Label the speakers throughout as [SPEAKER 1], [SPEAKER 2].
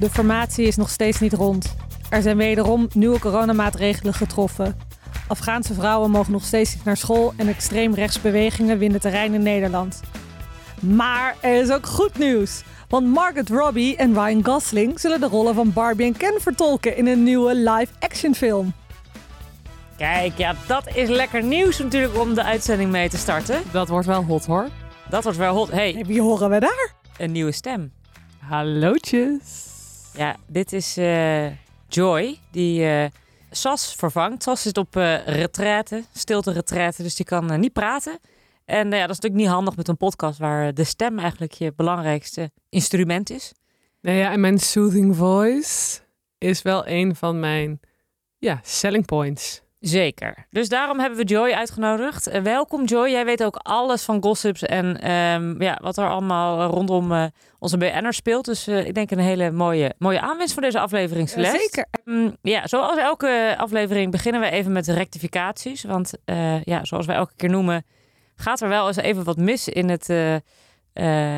[SPEAKER 1] De formatie is nog steeds niet rond. Er zijn wederom nieuwe coronamaatregelen getroffen. Afghaanse vrouwen mogen nog steeds niet naar school en extreemrechtsbewegingen winnen terrein in Nederland. Maar er is ook goed nieuws. Want Margaret Robbie en Ryan Gosling zullen de rollen van Barbie en Ken vertolken in een nieuwe live-action film.
[SPEAKER 2] Kijk, ja, dat is lekker nieuws natuurlijk om de uitzending mee te starten.
[SPEAKER 3] Dat wordt wel hot hoor.
[SPEAKER 2] Dat wordt wel hot. hey,
[SPEAKER 1] En wie horen we daar?
[SPEAKER 2] een nieuwe stem.
[SPEAKER 3] Hallootjes.
[SPEAKER 2] Ja, dit is eh, Joy, die eh, Sas vervangt. Sas zit op eh retraite, stilte retraite, dus die kan eh, niet praten. En eh, ja, dat is natuurlijk niet handig met een podcast waar eh, de stem eigenlijk je belangrijkste instrument is.
[SPEAKER 3] Nou ja, en mijn soothing voice is wel een van mijn ja, selling points.
[SPEAKER 2] Zeker. Dus daarom hebben we Joy uitgenodigd. Eh, welkom Joy, jij weet ook alles van gossips en ehm, ja, wat er allemaal eh, rondom eh, onze BN'er speelt. Dus eh, ik denk een hele mooie, mooie aanwinst voor deze aflevering, Celeste.
[SPEAKER 1] Zeker.
[SPEAKER 2] Mm, ja, zoals elke aflevering beginnen we even met rectificaties. Want eh, ja, zoals wij elke keer noemen, gaat er wel eens even wat mis in het eh,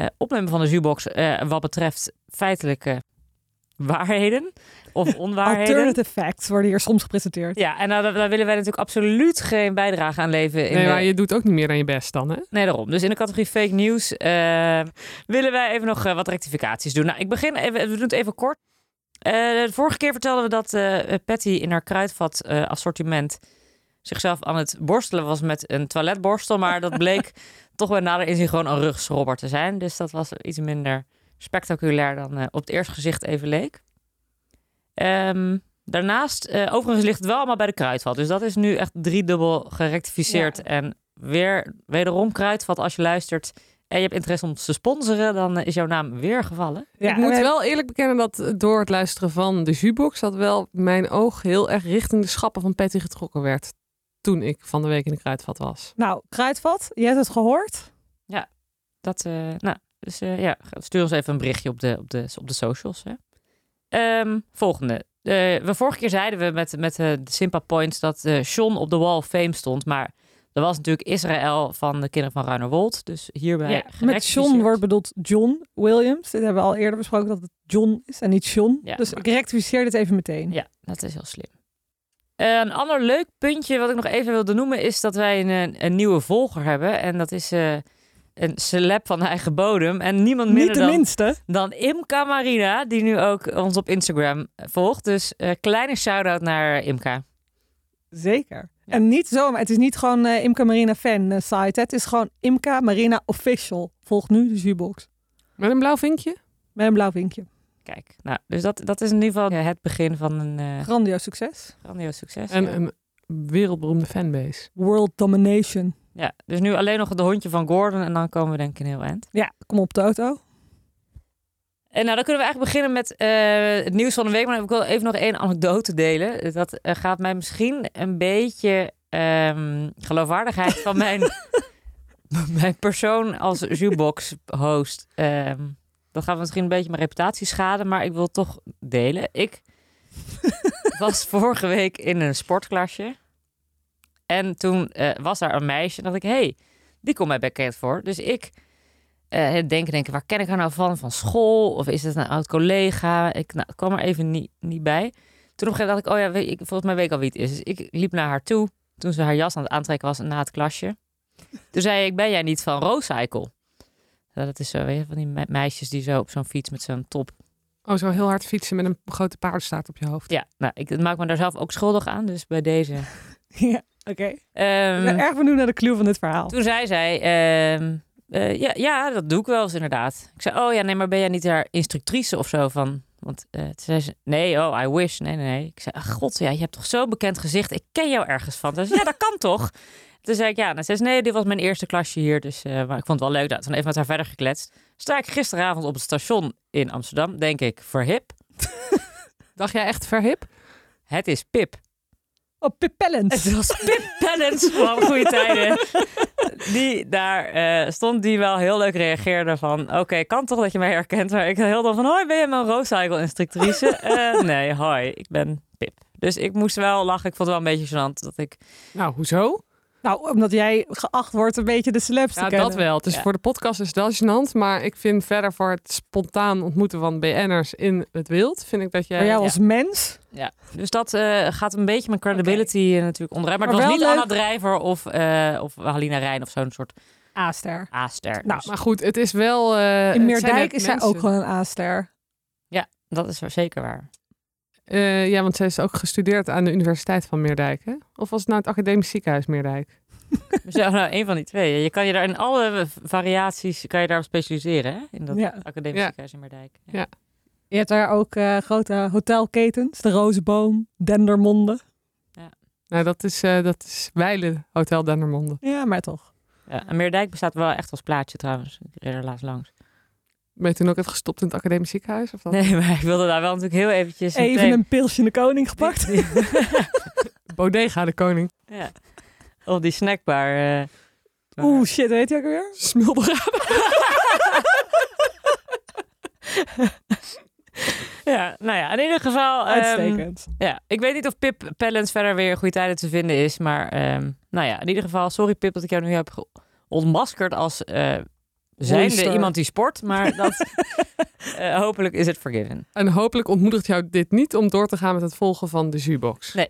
[SPEAKER 2] eh, opnemen van de Zubox. eh, wat betreft feitelijke waarheden of onwaarheden.
[SPEAKER 1] Alternative facts worden hier soms gepresenteerd.
[SPEAKER 2] Ja, en nou, daar, daar willen wij natuurlijk absoluut geen bijdrage aan leveren. In
[SPEAKER 3] Nee,
[SPEAKER 2] de-
[SPEAKER 3] maar je doet ook niet meer aan je best dan, hè?
[SPEAKER 2] Nee, daarom. Dus in de categorie fake news eh, willen wij even nog eh, wat rectificaties doen. Nou, ik begin even, we doen het even kort. Eh, de vorige keer vertelden we dat eh, Patty in haar kruidvat eh, assortiment zichzelf aan het borstelen was met een toiletborstel. Maar dat bleek toch bij nader inzien gewoon een rugschrobber te zijn. Dus dat was iets minder spectaculair dan eh, op het eerste gezicht even leek. Ehm, daarnaast, eh, overigens ligt het wel allemaal bij de kruidvat. Dus dat is nu echt driedubbel gerectificeerd. En weer wederom kruidvat als je luistert en je hebt interesse om ons te sponsoren, dan eh, is jouw naam weer gevallen.
[SPEAKER 1] Ja,
[SPEAKER 3] ik moet
[SPEAKER 1] en-
[SPEAKER 3] wel eerlijk bekennen dat eh, door het luisteren van de Zubox... dat wel mijn oog heel erg richting de schappen van Patty getrokken werd... toen ik van de week in de kruidvat was.
[SPEAKER 1] Nou, Kruidvat, je hebt het gehoord.
[SPEAKER 2] Dat, eh, nou, dus eh, ja, stuur ons even een berichtje op de, op de, op de socials. Hè. Ehm, volgende. Eh, we vorige keer zeiden we met, met eh, de Simpa Points dat eh Sean op de Wall of Fame stond, maar er was natuurlijk Israël van de kinderen van Ruiner Wold, dus hierbij
[SPEAKER 1] Met John
[SPEAKER 2] gerectificeerd.
[SPEAKER 1] wordt bedoeld John Williams. Dit hebben we al eerder besproken dat het John is en niet John.
[SPEAKER 2] Ja,
[SPEAKER 1] dus
[SPEAKER 2] maar-
[SPEAKER 1] ik rectificeer dit even meteen.
[SPEAKER 2] Ja, dat is heel slim. Eh, een ander leuk puntje wat ik nog even wilde noemen is dat wij een, een nieuwe volger hebben. En dat is eh, een celeb van eigen bodem. En niemand
[SPEAKER 1] Niet
[SPEAKER 2] minder
[SPEAKER 1] de
[SPEAKER 2] dan,
[SPEAKER 1] minste.
[SPEAKER 2] dan Imka Marina, die nu ook ons op Instagram volgt. Dus eh, kleine shout-out naar Imka.
[SPEAKER 1] Zeker. En niet zomaar. Het is niet gewoon eh, Imca Marina fan eh, site. hè. Het is gewoon Imca Marina official. Volg nu de Zubox.
[SPEAKER 3] Met een blauw vinkje?
[SPEAKER 1] Met een blauw vinkje.
[SPEAKER 2] Kijk, nou, dus dat, dat is in ieder geval eh, het begin van een eh
[SPEAKER 1] Grandioos succes.
[SPEAKER 2] grandioos succes.
[SPEAKER 3] En
[SPEAKER 2] ja.
[SPEAKER 3] een wereldberoemde fanbase.
[SPEAKER 1] World domination.
[SPEAKER 2] Ja, dus nu alleen nog de hondje van Gordon en dan komen we denk ik een heel eind.
[SPEAKER 1] Ja, kom op Toto.
[SPEAKER 2] En nou, dan kunnen we eigenlijk beginnen met eh, het nieuws van de week. Maar ik wil even nog één anekdote delen. Dat eh, gaat mij misschien een beetje ehm, geloofwaardigheid van mijn, mijn persoon als jukebox-host. ehm, dat gaat misschien een beetje mijn reputatie schaden, maar ik wil het toch delen. Ik was vorige week in een sportklasje. En toen eh, was daar een meisje. En dacht ik, hé, hey, die komt mij bekend voor. Dus ik eh, denken, denken, waar ken ik haar nou van? Van school? Of is het een oud collega? Ik nou, het kwam er even niet, niet bij. Toen op een gegeven moment dacht ik, oh ja, weet, ik, volgens mij weet ik al wie het is. Dus ik liep naar haar toe toen ze haar jas aan het aantrekken was na het klasje. Toen zei ik, ben jij niet van Rocycle? Nou, dat is zo, weet je, van die me- meisjes die zo op zo'n fiets met zo'n top.
[SPEAKER 3] Oh, zo heel hard fietsen met een grote paardenstaart op je hoofd.
[SPEAKER 2] Ja, nou, ik maak me daar zelf ook schuldig aan, dus bij deze.
[SPEAKER 1] ja, oké. Ik
[SPEAKER 2] Ehm,
[SPEAKER 1] ben erg benieuwd naar de clue van dit verhaal.
[SPEAKER 2] Toen zei zij, ehm, eh, ja, ja, dat doe ik wel eens inderdaad. Ik zei, oh ja, nee, maar ben jij niet haar instructrice of zo van? Want eh, toen zei ze, nee, oh, I wish, nee, nee, nee. Ik zei, ach, god, ja, je hebt toch zo'n bekend gezicht, ik ken jou ergens van. Toen zei ze, ja, dat kan toch? Toen zei ik, ja, nou, zei ze, nee, dit was mijn eerste klasje hier, dus eh, maar ik vond het wel leuk. Nou, toen even met haar verder gekletst. Sta ik gisteravond op het station in Amsterdam, denk ik, voor hip.
[SPEAKER 3] Dacht jij echt verhip?
[SPEAKER 2] Het is Pip.
[SPEAKER 1] Oh, Pip Pellens.
[SPEAKER 2] Het was Pip Pellens van Goede Tijden. Die daar eh, stond, die wel heel leuk reageerde van... Oké, kan toch dat je mij herkent? Maar ik heel dan van... Hoi, ben je mijn Rocycle-instructrice? Eh, nee, hoi, ik ben Pip. Dus ik moest wel lachen. Ik vond het wel een beetje gênant dat ik...
[SPEAKER 3] Nou, hoezo?
[SPEAKER 1] Nou, omdat jij geacht wordt een beetje de celebs te
[SPEAKER 3] Ja,
[SPEAKER 1] kennen.
[SPEAKER 3] dat wel. Dus
[SPEAKER 1] Ja.
[SPEAKER 3] voor de podcast is dat gênant. Maar ik vind verder voor het spontaan ontmoeten van BN'ers in het wild... vind ik dat jij...
[SPEAKER 1] Maar jou als mens?
[SPEAKER 2] Ja. Dus dat eh, gaat een beetje mijn credibility eh, natuurlijk onderuit. Maar,
[SPEAKER 1] Maar
[SPEAKER 2] het was
[SPEAKER 1] wel
[SPEAKER 2] niet
[SPEAKER 1] leuk.
[SPEAKER 2] Anna Drijver of, eh, of Halina Rijn of zo'n soort
[SPEAKER 1] A-ster.
[SPEAKER 2] A-ster.
[SPEAKER 1] Nou,
[SPEAKER 2] Dus
[SPEAKER 3] Maar goed, het is wel... eh, het
[SPEAKER 1] In
[SPEAKER 3] zijn
[SPEAKER 1] Meerdijk
[SPEAKER 3] net
[SPEAKER 1] is zij
[SPEAKER 3] mensen.
[SPEAKER 1] ook gewoon een A-ster.
[SPEAKER 2] dat is wel zeker waar.
[SPEAKER 3] Eh, ja, want ze is ook gestudeerd aan de Universiteit van Meerdijk. Hè? Of was het nou het Academisch Ziekenhuis Meerdijk?
[SPEAKER 2] Zo, nou, één van die twee. Je kan je daar in alle variaties kan je daarop specialiseren. Hè? In dat
[SPEAKER 1] Ja.
[SPEAKER 2] academisch
[SPEAKER 3] Ja.
[SPEAKER 2] ziekenhuis in Meerdijk. Ja.
[SPEAKER 3] Ja.
[SPEAKER 1] Je hebt daar ook eh, grote hotelketens. De Rozenboom, Dendermonde.
[SPEAKER 3] Nou, dat is, eh dat is Weilen Hotel Dendermonde.
[SPEAKER 1] Ja, maar toch.
[SPEAKER 2] Ja, en Meerdijk bestaat wel echt als plaatje trouwens. Ik reed er laatst langs.
[SPEAKER 3] Ben je toen ook even gestopt in het Academisch Ziekenhuis? Of dat?
[SPEAKER 2] Nee, maar ik wilde daar wel natuurlijk heel eventjes...
[SPEAKER 1] Oh. Even
[SPEAKER 2] meteen-
[SPEAKER 1] een pilsje in de koning gepakt.
[SPEAKER 3] Bodega de Koning.
[SPEAKER 2] Ja. Of die snackbar. eh.
[SPEAKER 1] Oeh, shit, weet je ook weer?
[SPEAKER 3] Smulderaan.
[SPEAKER 2] Ja, nou ja, in ieder geval... ehm,
[SPEAKER 1] Uitstekend.
[SPEAKER 2] ja, ik weet niet of Pip Pellens verder weer goede tijden te vinden is. Maar ehm, nou ja, in ieder geval, sorry Pip dat ik jou nu heb ge- ontmaskerd als eh zijnde
[SPEAKER 1] Monster.
[SPEAKER 2] iemand die sport. Maar dat, eh, hopelijk is het forgiven.
[SPEAKER 3] En hopelijk ontmoedigt jou dit niet om door te gaan met het volgen van de Zubox.
[SPEAKER 2] Nee.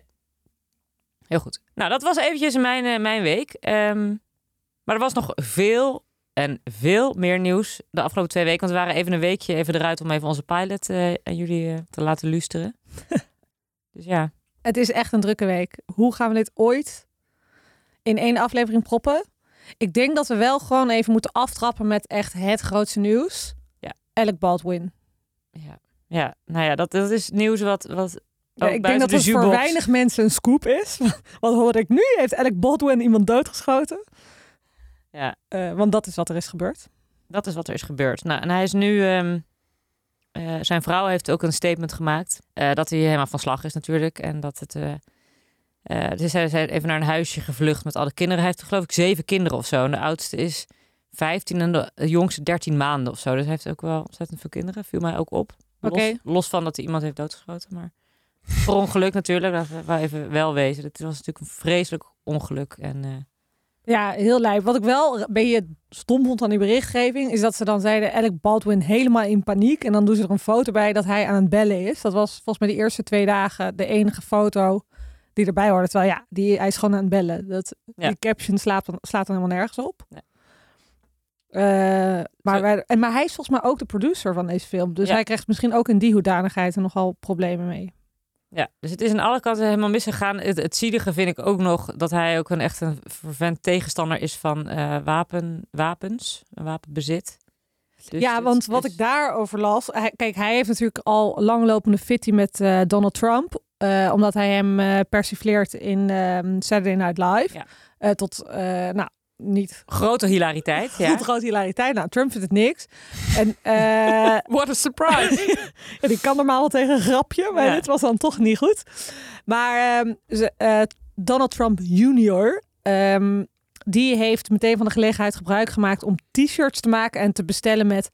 [SPEAKER 2] Heel goed. Nou, dat was eventjes mijn, eh, mijn week. Ehm, maar er was nog veel en veel meer nieuws de afgelopen twee weken. Want we waren even een weekje even eruit om even onze pilot eh, aan jullie eh, te laten luisteren. dus ja.
[SPEAKER 1] Het is echt een drukke week. Hoe gaan we dit ooit in één aflevering proppen? Ik denk dat we wel gewoon even moeten aftrappen met echt het grootste nieuws.
[SPEAKER 2] Ja.
[SPEAKER 1] Alec Baldwin.
[SPEAKER 2] ja. Ja, nou ja, dat, dat is nieuws wat... wat
[SPEAKER 1] Ja,
[SPEAKER 2] ook
[SPEAKER 1] ik denk
[SPEAKER 2] buiten
[SPEAKER 1] dat
[SPEAKER 2] de
[SPEAKER 1] het voor
[SPEAKER 2] jukebox-
[SPEAKER 1] weinig mensen een scoop is. Wat hoor ik nu? Heeft Alec Baldwin iemand doodgeschoten?
[SPEAKER 2] Ja,
[SPEAKER 1] Eh, want dat is wat er is gebeurd.
[SPEAKER 2] dat is wat er is gebeurd. Nou, en hij is nu... ehm, eh, zijn vrouw heeft ook een statement gemaakt. eh, dat hij helemaal van slag is natuurlijk. En dat het... eh, eh, dus hij is even naar een huisje gevlucht met alle kinderen. Hij heeft geloof ik zeven kinderen of zo. En de oudste is 15 en de jongste 13 maanden of zo. Dus hij heeft ook wel ontzettend veel kinderen. Viel mij ook op. Los,
[SPEAKER 1] Oké.
[SPEAKER 2] los van dat hij iemand heeft doodgeschoten. Maar voor ongeluk natuurlijk. Laten we wel even wel wezen. Het was natuurlijk een vreselijk ongeluk. En eh,
[SPEAKER 1] Ja, heel lijp. Wat ik wel ben je stom vond aan die berichtgeving, is dat ze dan zeiden Alec Baldwin helemaal in paniek. En dan doen ze er een foto bij dat hij aan het bellen is. Dat was volgens mij de eerste twee dagen de enige foto die erbij hoorde. Terwijl ja, die, hij is gewoon aan het bellen. Dat,
[SPEAKER 2] Ja.
[SPEAKER 1] Die caption slaat dan, slaat dan helemaal nergens op.
[SPEAKER 2] Nee.
[SPEAKER 1] Eh, maar,
[SPEAKER 2] Zo-
[SPEAKER 1] wij, en, maar hij is volgens mij ook de producer van deze film. Dus
[SPEAKER 2] Ja.
[SPEAKER 1] hij krijgt misschien ook in die hoedanigheid er nogal problemen mee.
[SPEAKER 2] Ja, dus het is aan alle kanten helemaal misgegaan. Het, het zielige vind ik ook nog dat hij ook een echt een vervent tegenstander is van eh, wapen, wapens, een wapenbezit. Dus
[SPEAKER 1] ja,
[SPEAKER 2] het
[SPEAKER 1] want wat
[SPEAKER 2] is-
[SPEAKER 1] ik daarover las. hij- kijk, hij heeft natuurlijk al langlopende fitty met eh, Donald Trump. eh, omdat hij hem eh persifleert in ehm, Saturday Night Live.
[SPEAKER 2] Ja.
[SPEAKER 1] Eh, tot, eh, nou, niet
[SPEAKER 2] Grote hilariteit, ja.
[SPEAKER 1] tot grote hilariteit. Nou, Trump vindt het niks. En eh,
[SPEAKER 3] What a surprise!
[SPEAKER 1] ja, die kan normaal wel tegen een grapje, maar
[SPEAKER 2] Ja.
[SPEAKER 1] dit was dan toch niet goed. Maar ehm, ze- eh, Donald Trump Jr. ehm, die heeft meteen van de gelegenheid gebruik gemaakt om t-shirts te maken en te bestellen met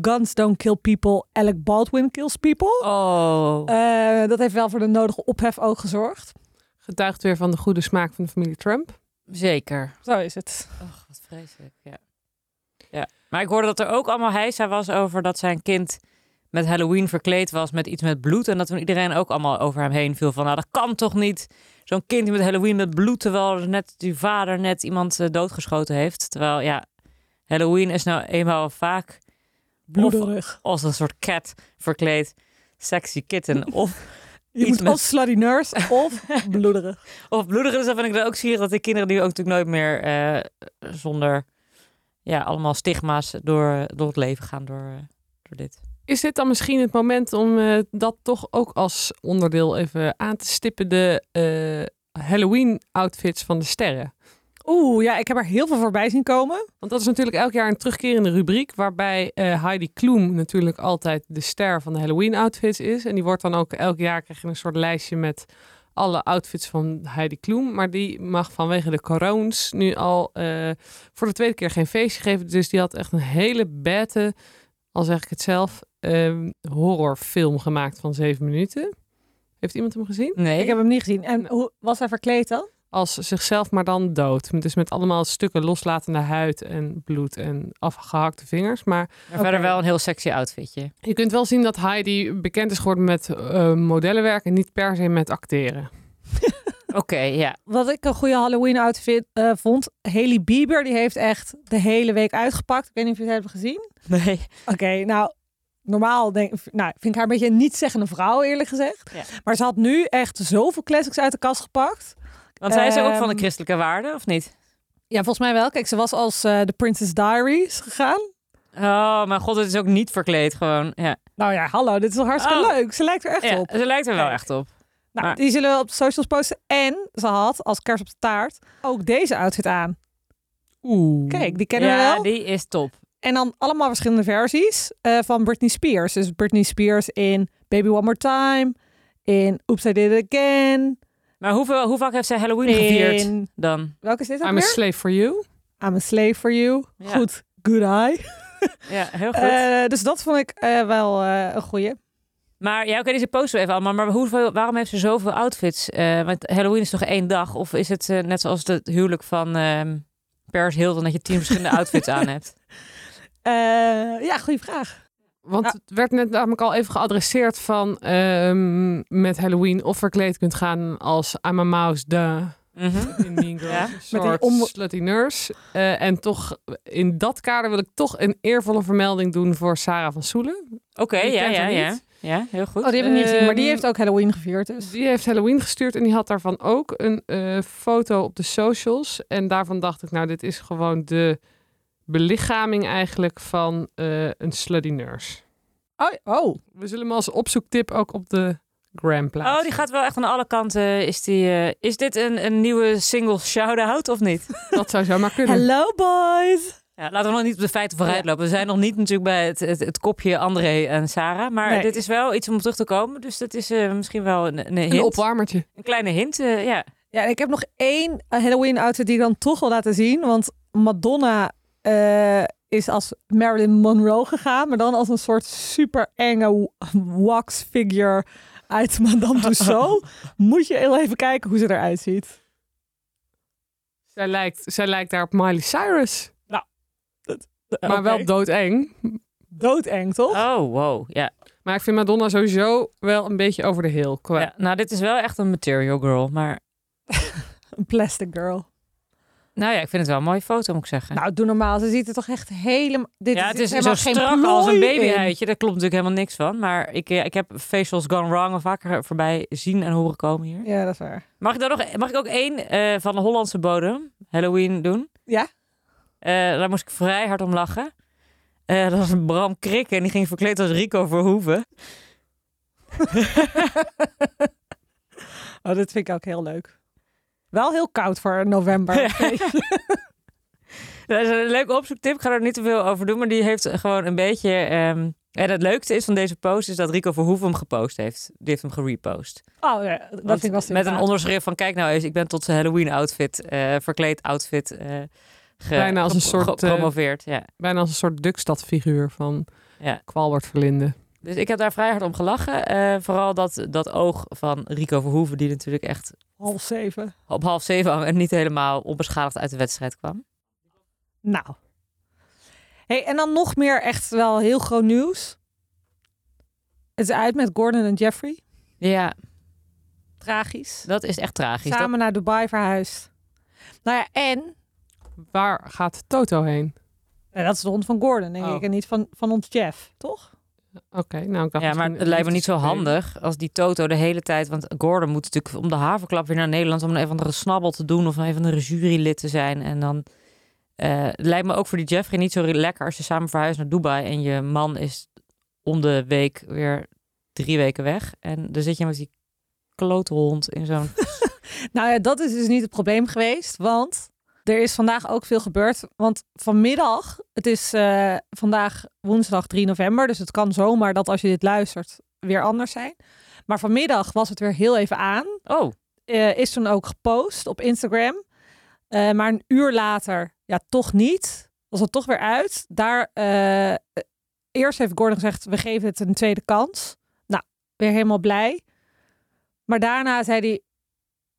[SPEAKER 1] Guns don't kill people, Alec Baldwin kills people.
[SPEAKER 2] Oh,
[SPEAKER 1] Eh, dat heeft wel voor de nodige ophef ook gezorgd.
[SPEAKER 3] Getuigt weer van de goede smaak van de familie Trump.
[SPEAKER 2] zeker.
[SPEAKER 1] Zo is het.
[SPEAKER 2] Och, wat vreselijk, ja. ja. Maar ik hoorde dat er ook allemaal heisa was over dat zijn kind met Halloween verkleed was met iets met bloed. En dat toen iedereen ook allemaal over hem heen viel van, nou dat kan toch niet. Zo'n kind die met Halloween met bloed, terwijl er net die vader net iemand eh, doodgeschoten heeft. Terwijl ja, Halloween is nou eenmaal vaak
[SPEAKER 1] Bloederig.
[SPEAKER 2] als een soort cat verkleed. Sexy kitten. Of,
[SPEAKER 1] Je
[SPEAKER 2] iets
[SPEAKER 1] moet
[SPEAKER 2] met-
[SPEAKER 1] of slutty nurse of bloederig.
[SPEAKER 2] of bloedig is, dan vind ik dan ook zielig dat de kinderen die ook natuurlijk nooit meer eh, zonder ja, allemaal stigma's door, door het leven gaan door, eh, door dit.
[SPEAKER 3] Is dit dan misschien het moment om eh, dat toch ook als onderdeel even aan te stippen? De eh, Halloween-outfits van de sterren.
[SPEAKER 1] Oeh, ja, ik heb er heel veel voorbij zien komen.
[SPEAKER 3] Want dat is natuurlijk elk jaar een terugkerende rubriek. Waarbij eh, Heidi Klum natuurlijk altijd de ster van de Halloween-outfits is. En die wordt dan ook elk jaar krijg je een soort lijstje met alle outfits van Heidi Klum. Maar die mag vanwege de corones nu al eh, voor de tweede keer geen feestje geven. Dus die had echt een hele bette, al zeg ik het zelf, ehm, horrorfilm gemaakt van zeven minuten. Heeft iemand hem gezien?
[SPEAKER 2] Nee,
[SPEAKER 1] Ik heb hem niet gezien. En hoe was hij verkleed dan?
[SPEAKER 3] als zichzelf, maar dan dood. Dus met allemaal stukken loslatende huid en bloed en afgehakte vingers. Maar
[SPEAKER 2] Maar verder wel een heel sexy outfitje.
[SPEAKER 3] je kunt wel zien dat Heidi bekend is geworden met eh, modellenwerk en niet per se met acteren.
[SPEAKER 2] Oké, ja.
[SPEAKER 1] Wat ik een goede Halloween outfit eh, vond. Haley Bieber die heeft echt de hele week uitgepakt. Ik weet niet of jullie het hebben gezien.
[SPEAKER 2] Nee.
[SPEAKER 1] Oké, nou normaal denk, nou, vind ik haar een beetje een niet-zeggende vrouw eerlijk gezegd.
[SPEAKER 2] Ja.
[SPEAKER 1] Maar ze had nu echt zoveel classics uit de kast gepakt.
[SPEAKER 2] Want zij is er ook van de
[SPEAKER 1] Ehm,
[SPEAKER 2] christelijke waarden, of niet?
[SPEAKER 1] Ja, volgens mij wel. Kijk, ze was als eh The Princess Diaries gegaan.
[SPEAKER 2] Oh, mijn god, het is ook niet verkleed gewoon. Ja,
[SPEAKER 1] Nou ja, hallo, dit is wel hartstikke
[SPEAKER 2] Oh.
[SPEAKER 1] leuk. Ze lijkt er echt
[SPEAKER 2] ja
[SPEAKER 1] op.
[SPEAKER 2] ze lijkt er wel
[SPEAKER 1] Kijk.
[SPEAKER 2] echt op.
[SPEAKER 1] Nou,
[SPEAKER 2] Maar-
[SPEAKER 1] die zullen we op de socials posten. En ze had als kers op de taart ook deze outfit aan.
[SPEAKER 3] Oeh.
[SPEAKER 1] Kijk, die kennen we
[SPEAKER 2] ja,
[SPEAKER 1] wel.
[SPEAKER 2] die is top.
[SPEAKER 1] En dan allemaal verschillende versies eh, van Britney Spears. Dus Britney Spears in Baby One More Time, in Oops I Did It Again,
[SPEAKER 2] Maar hoeveel, hoe vaak heeft zij Halloween gevierd
[SPEAKER 1] in...
[SPEAKER 2] dan?
[SPEAKER 1] Welke is dit ook
[SPEAKER 3] I'm a
[SPEAKER 1] weer?
[SPEAKER 3] slave for you.
[SPEAKER 1] I'm a slave for you.
[SPEAKER 2] Ja.
[SPEAKER 1] Goed, good eye.
[SPEAKER 2] Ja, heel goed.
[SPEAKER 1] Eh, dus dat vond ik eh, wel eh, een goeie.
[SPEAKER 2] maar ja, oké, deze posten we even allemaal. Maar hoeveel, waarom heeft ze zoveel outfits? Eh, want Halloween is toch één dag? Of is het eh, net zoals het huwelijk van ehm Paris Hilton... dat je tien verschillende outfits aan hebt?
[SPEAKER 1] Eh, ja, goede vraag.
[SPEAKER 3] Want
[SPEAKER 1] Ja.
[SPEAKER 3] het werd net namelijk al even geadresseerd van ehm, met Halloween of verkleed kunt gaan als I'm a mouse, duh.
[SPEAKER 2] Mhm.
[SPEAKER 3] in Mean Girls.
[SPEAKER 2] Ja.
[SPEAKER 3] Een soort
[SPEAKER 1] om-
[SPEAKER 3] slutty nurse. Eh, en toch, in dat kader wil ik toch een eervolle vermelding doen voor Sarah van Soelen.
[SPEAKER 2] Oké,
[SPEAKER 3] Die
[SPEAKER 2] ja,
[SPEAKER 3] kent
[SPEAKER 2] ja,
[SPEAKER 3] hem
[SPEAKER 2] ja.
[SPEAKER 3] niet.
[SPEAKER 2] Ja, heel goed.
[SPEAKER 1] Oh, die heb ik niet gezien, maar die
[SPEAKER 3] Ehm,
[SPEAKER 1] heeft ook Halloween gevierd dus.
[SPEAKER 3] Die heeft Halloween gestuurd en die had daarvan ook een eh, foto op de socials. En daarvan dacht ik, nou, dit is gewoon de belichaming eigenlijk van eh, een slutty nurse.
[SPEAKER 1] Oh, oh.
[SPEAKER 3] We zullen hem als opzoektip ook op de gram plaatsen.
[SPEAKER 2] Oh, die gaat wel echt aan alle kanten. Is, die, eh, is dit een, een nieuwe single shout-out of niet?
[SPEAKER 3] Dat zou zomaar kunnen.
[SPEAKER 1] Hello boys.
[SPEAKER 2] Ja, laten we nog niet op de feiten vooruit lopen. We zijn nog niet natuurlijk bij het, het, het kopje André en Sarah. Maar
[SPEAKER 1] Nee.
[SPEAKER 2] dit is wel iets om op terug te komen. Dus dat is eh, misschien wel een, een, hint.
[SPEAKER 3] Een opwarmertje.
[SPEAKER 2] Een kleine hint, eh, ja.
[SPEAKER 1] Ja, en ik heb nog één eh, Halloween outfit die ik dan toch wil laten zien. Want Madonna eh, is als Marilyn Monroe gegaan. Maar dan als een soort super enge wax figure uit Madame Tussauds. Moet je heel even kijken hoe ze eruit ziet.
[SPEAKER 3] Zij lijkt, zij lijkt daar op Miley Cyrus.
[SPEAKER 1] Eh,
[SPEAKER 3] Maar wel
[SPEAKER 1] oké.
[SPEAKER 3] doodeng.
[SPEAKER 1] doodeng, toch?
[SPEAKER 2] Oh, wow. Ja.
[SPEAKER 3] Maar ik vind Madonna sowieso wel een beetje over de hill. Qua...
[SPEAKER 2] ja. Nou, dit is wel echt een material girl. Maar
[SPEAKER 1] Een plastic girl.
[SPEAKER 2] nou ja, ik vind het wel een mooie foto, moet ik zeggen.
[SPEAKER 1] Nou, doe normaal. Ze ziet er toch echt helemaal... Dit
[SPEAKER 2] ja,
[SPEAKER 1] er
[SPEAKER 2] het
[SPEAKER 1] zit
[SPEAKER 2] is zo
[SPEAKER 1] helemaal geen
[SPEAKER 2] strak als
[SPEAKER 1] plooi
[SPEAKER 2] een
[SPEAKER 1] in.
[SPEAKER 2] babyhuidje. Daar klopt natuurlijk helemaal niks van. Maar ik, eh, ik heb facials gone wrong al vaker voorbij zien en horen komen hier.
[SPEAKER 1] Ja, dat is waar.
[SPEAKER 2] Mag ik, dan nog, mag ik ook één eh, van de Hollandse bodem, Halloween, doen?
[SPEAKER 1] Ja.
[SPEAKER 2] Eh, daar moest ik vrij hard om lachen. Eh, dat was een Bram Krikke en die ging verkleed als Rico Verhoeven.
[SPEAKER 1] Oh, dat vind ik ook heel leuk. Wel heel koud voor november.
[SPEAKER 2] Dat is een leuke opzoektip. Ik ga er niet te veel over doen, maar die heeft gewoon een beetje... ehm, en het leukste is van deze post is dat Rico Verhoeven hem gepost heeft. Die heeft hem gerepost.
[SPEAKER 1] Oh ja, dat
[SPEAKER 2] Want
[SPEAKER 1] vind ik wel
[SPEAKER 2] Met een
[SPEAKER 1] sympathiek.
[SPEAKER 2] onderschrift van kijk nou eens, ik ben tot zijn Halloween outfit, eh, verkleed outfit... eh, ge-
[SPEAKER 3] Bijna als een
[SPEAKER 2] gepro-
[SPEAKER 3] soort, eh,
[SPEAKER 2] Gepromoveerd, ja.
[SPEAKER 3] Bijna als een soort Dukstad-figuur van
[SPEAKER 2] Ja.
[SPEAKER 3] Kwalbert Verlinde.
[SPEAKER 2] Dus ik heb daar vrij hard om gelachen. Eh, vooral dat, dat oog van Rico Verhoeven, die natuurlijk echt
[SPEAKER 1] half zeven.
[SPEAKER 2] op half zeven hang en niet helemaal onbeschadigd uit de wedstrijd kwam.
[SPEAKER 1] Nou. Hey, en dan nog meer echt wel heel groot nieuws. Het is uit met Gordon en Jeffrey.
[SPEAKER 2] Ja,
[SPEAKER 1] Tragisch.
[SPEAKER 2] dat is echt tragisch. Dat-
[SPEAKER 1] Samen naar Dubai verhuisd. Nou ja, en...
[SPEAKER 3] Waar gaat Toto heen?
[SPEAKER 1] nou, dat is de hond van Gordon, denk
[SPEAKER 3] Oh.
[SPEAKER 1] ik. En niet van, van ons Jeff, toch?
[SPEAKER 3] Oké, nou ik dacht
[SPEAKER 2] ja, maar
[SPEAKER 3] misschien-
[SPEAKER 2] het lijkt me niet zo
[SPEAKER 3] Nee.
[SPEAKER 2] handig als die Toto de hele tijd... Want Gordon moet natuurlijk om de haverklap weer naar Nederland... om een van de snabbel te doen of een van de jurylid te zijn. En dan eh, het lijkt me ook voor die Jeffrey niet zo re- lekker... als je samen verhuist naar Dubai en je man is om de week weer drie weken weg. En dan zit je met die kloothond in zo'n
[SPEAKER 1] Nou ja, dat is dus niet het probleem geweest, want er is vandaag ook veel gebeurd. Want vanmiddag, het is eh, vandaag woensdag 3 november, dus het kan zomaar dat als je dit luistert weer anders zijn. Maar vanmiddag was het weer heel even aan.
[SPEAKER 2] Oh,
[SPEAKER 1] Eh, is toen ook gepost op Instagram. Eh, maar een uur later, ja, toch niet. Was het toch weer uit. Daar, eh, eh, eerst heeft Gordon gezegd, we geven het een tweede kans. Nou, weer helemaal blij. Maar daarna zei hij,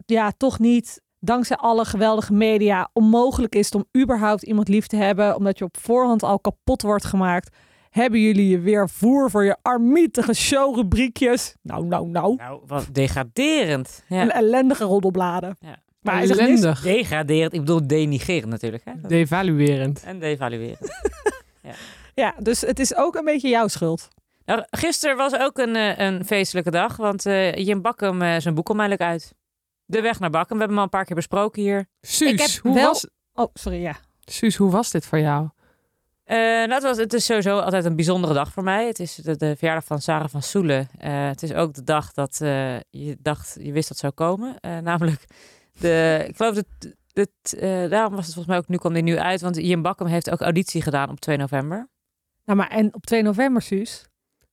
[SPEAKER 1] ja, toch niet. dankzij alle geweldige media onmogelijk is het om überhaupt iemand lief te hebben, omdat je op voorhand al kapot wordt gemaakt, hebben jullie je weer voer voor je armietige showrubriekjes. Nou, nou, nou.
[SPEAKER 2] Nou, wat degraderend. Ja.
[SPEAKER 1] En ellendige roddelbladen.
[SPEAKER 2] Ja.
[SPEAKER 1] Maar hij zegt niks.
[SPEAKER 3] Ellendig.
[SPEAKER 2] Degraderend, ik bedoel denigrerend natuurlijk. Hè? Dat-
[SPEAKER 3] Devaluerend.
[SPEAKER 2] En devaluerend.
[SPEAKER 1] Ja, dus het is ook een beetje jouw schuld.
[SPEAKER 2] Nou, gisteren was ook een, eh, een feestelijke dag, want eh, Jim Bakkum, eh, zijn boek komt eindelijk uit. De weg naar Bakkum, we hebben hem al een paar keer besproken hier.
[SPEAKER 3] Suus,
[SPEAKER 1] Ik heb
[SPEAKER 3] hoe
[SPEAKER 1] wel-
[SPEAKER 3] was...
[SPEAKER 1] Oh, sorry, ja.
[SPEAKER 3] Suus, hoe was dit voor jou?
[SPEAKER 2] Eh, nou, het, was, het is sowieso altijd een bijzondere dag voor mij. Het is de, de verjaardag van Sarah van Soelen. Eh, het is ook de dag dat eh, je dacht, je wist dat zou komen. Eh, namelijk, de, ik geloof dat, dat eh, daarom was het volgens mij ook, nu kwam die nu uit. Want Jim Bakkum heeft ook auditie gedaan op 2 november.
[SPEAKER 1] Nou, maar en op 2 november, Suus.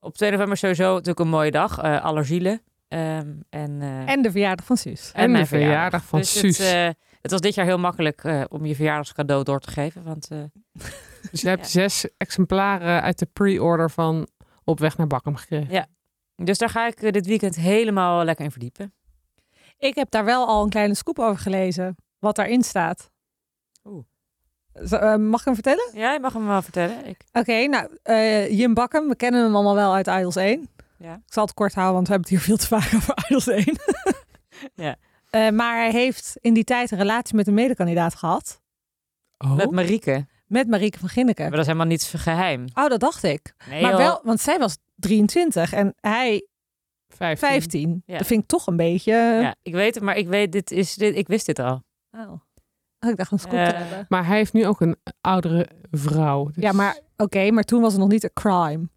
[SPEAKER 2] Op 2 november is sowieso natuurlijk een mooie dag. eh allergielen. Ehm, en, eh,
[SPEAKER 1] En de verjaardag van Suus.
[SPEAKER 3] En
[SPEAKER 2] mijn
[SPEAKER 3] de verjaardag van
[SPEAKER 2] dus
[SPEAKER 3] Suus.
[SPEAKER 2] Het, eh, het was dit jaar heel makkelijk eh, om je verjaardagscadeau door te geven. Want eh,
[SPEAKER 3] Dus je hebt
[SPEAKER 2] Ja.
[SPEAKER 3] zes exemplaren uit de pre-order van Op weg naar Bakkum gekregen.
[SPEAKER 2] Dus daar ga ik eh, dit weekend helemaal lekker in verdiepen.
[SPEAKER 1] Ik heb daar wel al een kleine scoop over gelezen. Wat daarin staat.
[SPEAKER 2] Oeh.
[SPEAKER 1] Z- eh, mag ik hem vertellen?
[SPEAKER 2] Ja, je mag hem wel vertellen. Ik...
[SPEAKER 1] Oké, nou, eh, Jim Bakkum, we kennen hem allemaal wel uit Idols 1.
[SPEAKER 2] Ja.
[SPEAKER 1] Ik zal het kort houden, want we hebben het hier veel te vaak over Idols 1.
[SPEAKER 2] Ja.
[SPEAKER 1] Eh, maar hij heeft in die tijd een relatie met een medekandidaat gehad.
[SPEAKER 3] Oh,
[SPEAKER 2] Met Marieke. Maar
[SPEAKER 1] Met Marieke van Ginneken.
[SPEAKER 2] dat is helemaal niets geheim.
[SPEAKER 1] Oh, dat dacht ik.
[SPEAKER 2] Nee,
[SPEAKER 1] maar
[SPEAKER 2] joh.
[SPEAKER 1] wel, want zij was 23 en hij
[SPEAKER 3] 15.
[SPEAKER 1] 15.
[SPEAKER 2] Ja.
[SPEAKER 1] Dat vind ik toch een beetje...
[SPEAKER 3] eh,
[SPEAKER 2] Ja, ik weet het, maar ik, weet, dit is, dit, ik wist dit al.
[SPEAKER 1] Oh. Oh, ik dacht een scoop te
[SPEAKER 2] Eh,
[SPEAKER 1] hebben.
[SPEAKER 3] Maar hij heeft nu ook een oudere vrouw. Dus-
[SPEAKER 1] Ja, maar oké, maar toen was het nog niet een crime.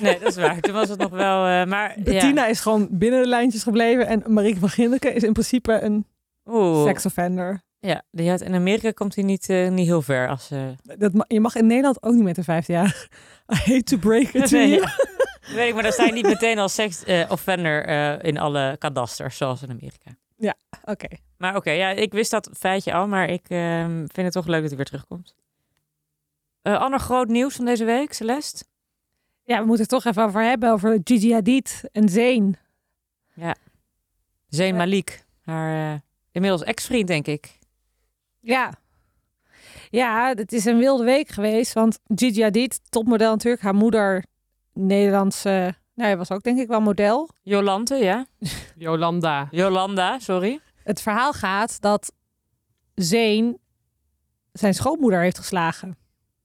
[SPEAKER 2] Nee, dat is waar. Toen was het nog wel... eh, maar,
[SPEAKER 1] Bettina is gewoon binnen de lijntjes gebleven en Marieke van Ginneken is in principe een
[SPEAKER 2] Ja. Oeh.
[SPEAKER 1] seksoffender.
[SPEAKER 2] Ja, die had, in Amerika komt hij niet, eh, niet heel ver. Als, eh,
[SPEAKER 1] Dat, ma- je mag in Nederland ook niet met een 15 jaar. I hate to break it to
[SPEAKER 2] Nee,
[SPEAKER 1] you.
[SPEAKER 2] ja. Weet ik, maar dan sta je niet meteen als seks eh, offender eh, in alle kadasters, zoals in Amerika.
[SPEAKER 1] Oké,
[SPEAKER 2] Maar oké, ja, ik wist dat feitje al, maar ik ehm, vind het toch leuk dat hij weer terugkomt. Eh ander groot nieuws van deze week, Celeste.
[SPEAKER 1] ja, we moeten het toch even over hebben over Gigi Hadid en Zayn.
[SPEAKER 2] Zayn
[SPEAKER 1] Ja.
[SPEAKER 2] Malik, haar eh, inmiddels ex-vriend, denk ik.
[SPEAKER 1] Ja. Ja, het is een wilde week geweest, want Gigi Hadid, topmodel natuurlijk, haar moeder, Nederlandse, nou ja, was ook denk ik wel model.
[SPEAKER 2] Jolante, ja.
[SPEAKER 3] Jolanda.
[SPEAKER 2] Jolanda, sorry.
[SPEAKER 1] Het verhaal gaat dat Zeen zijn schoonmoeder heeft geslagen.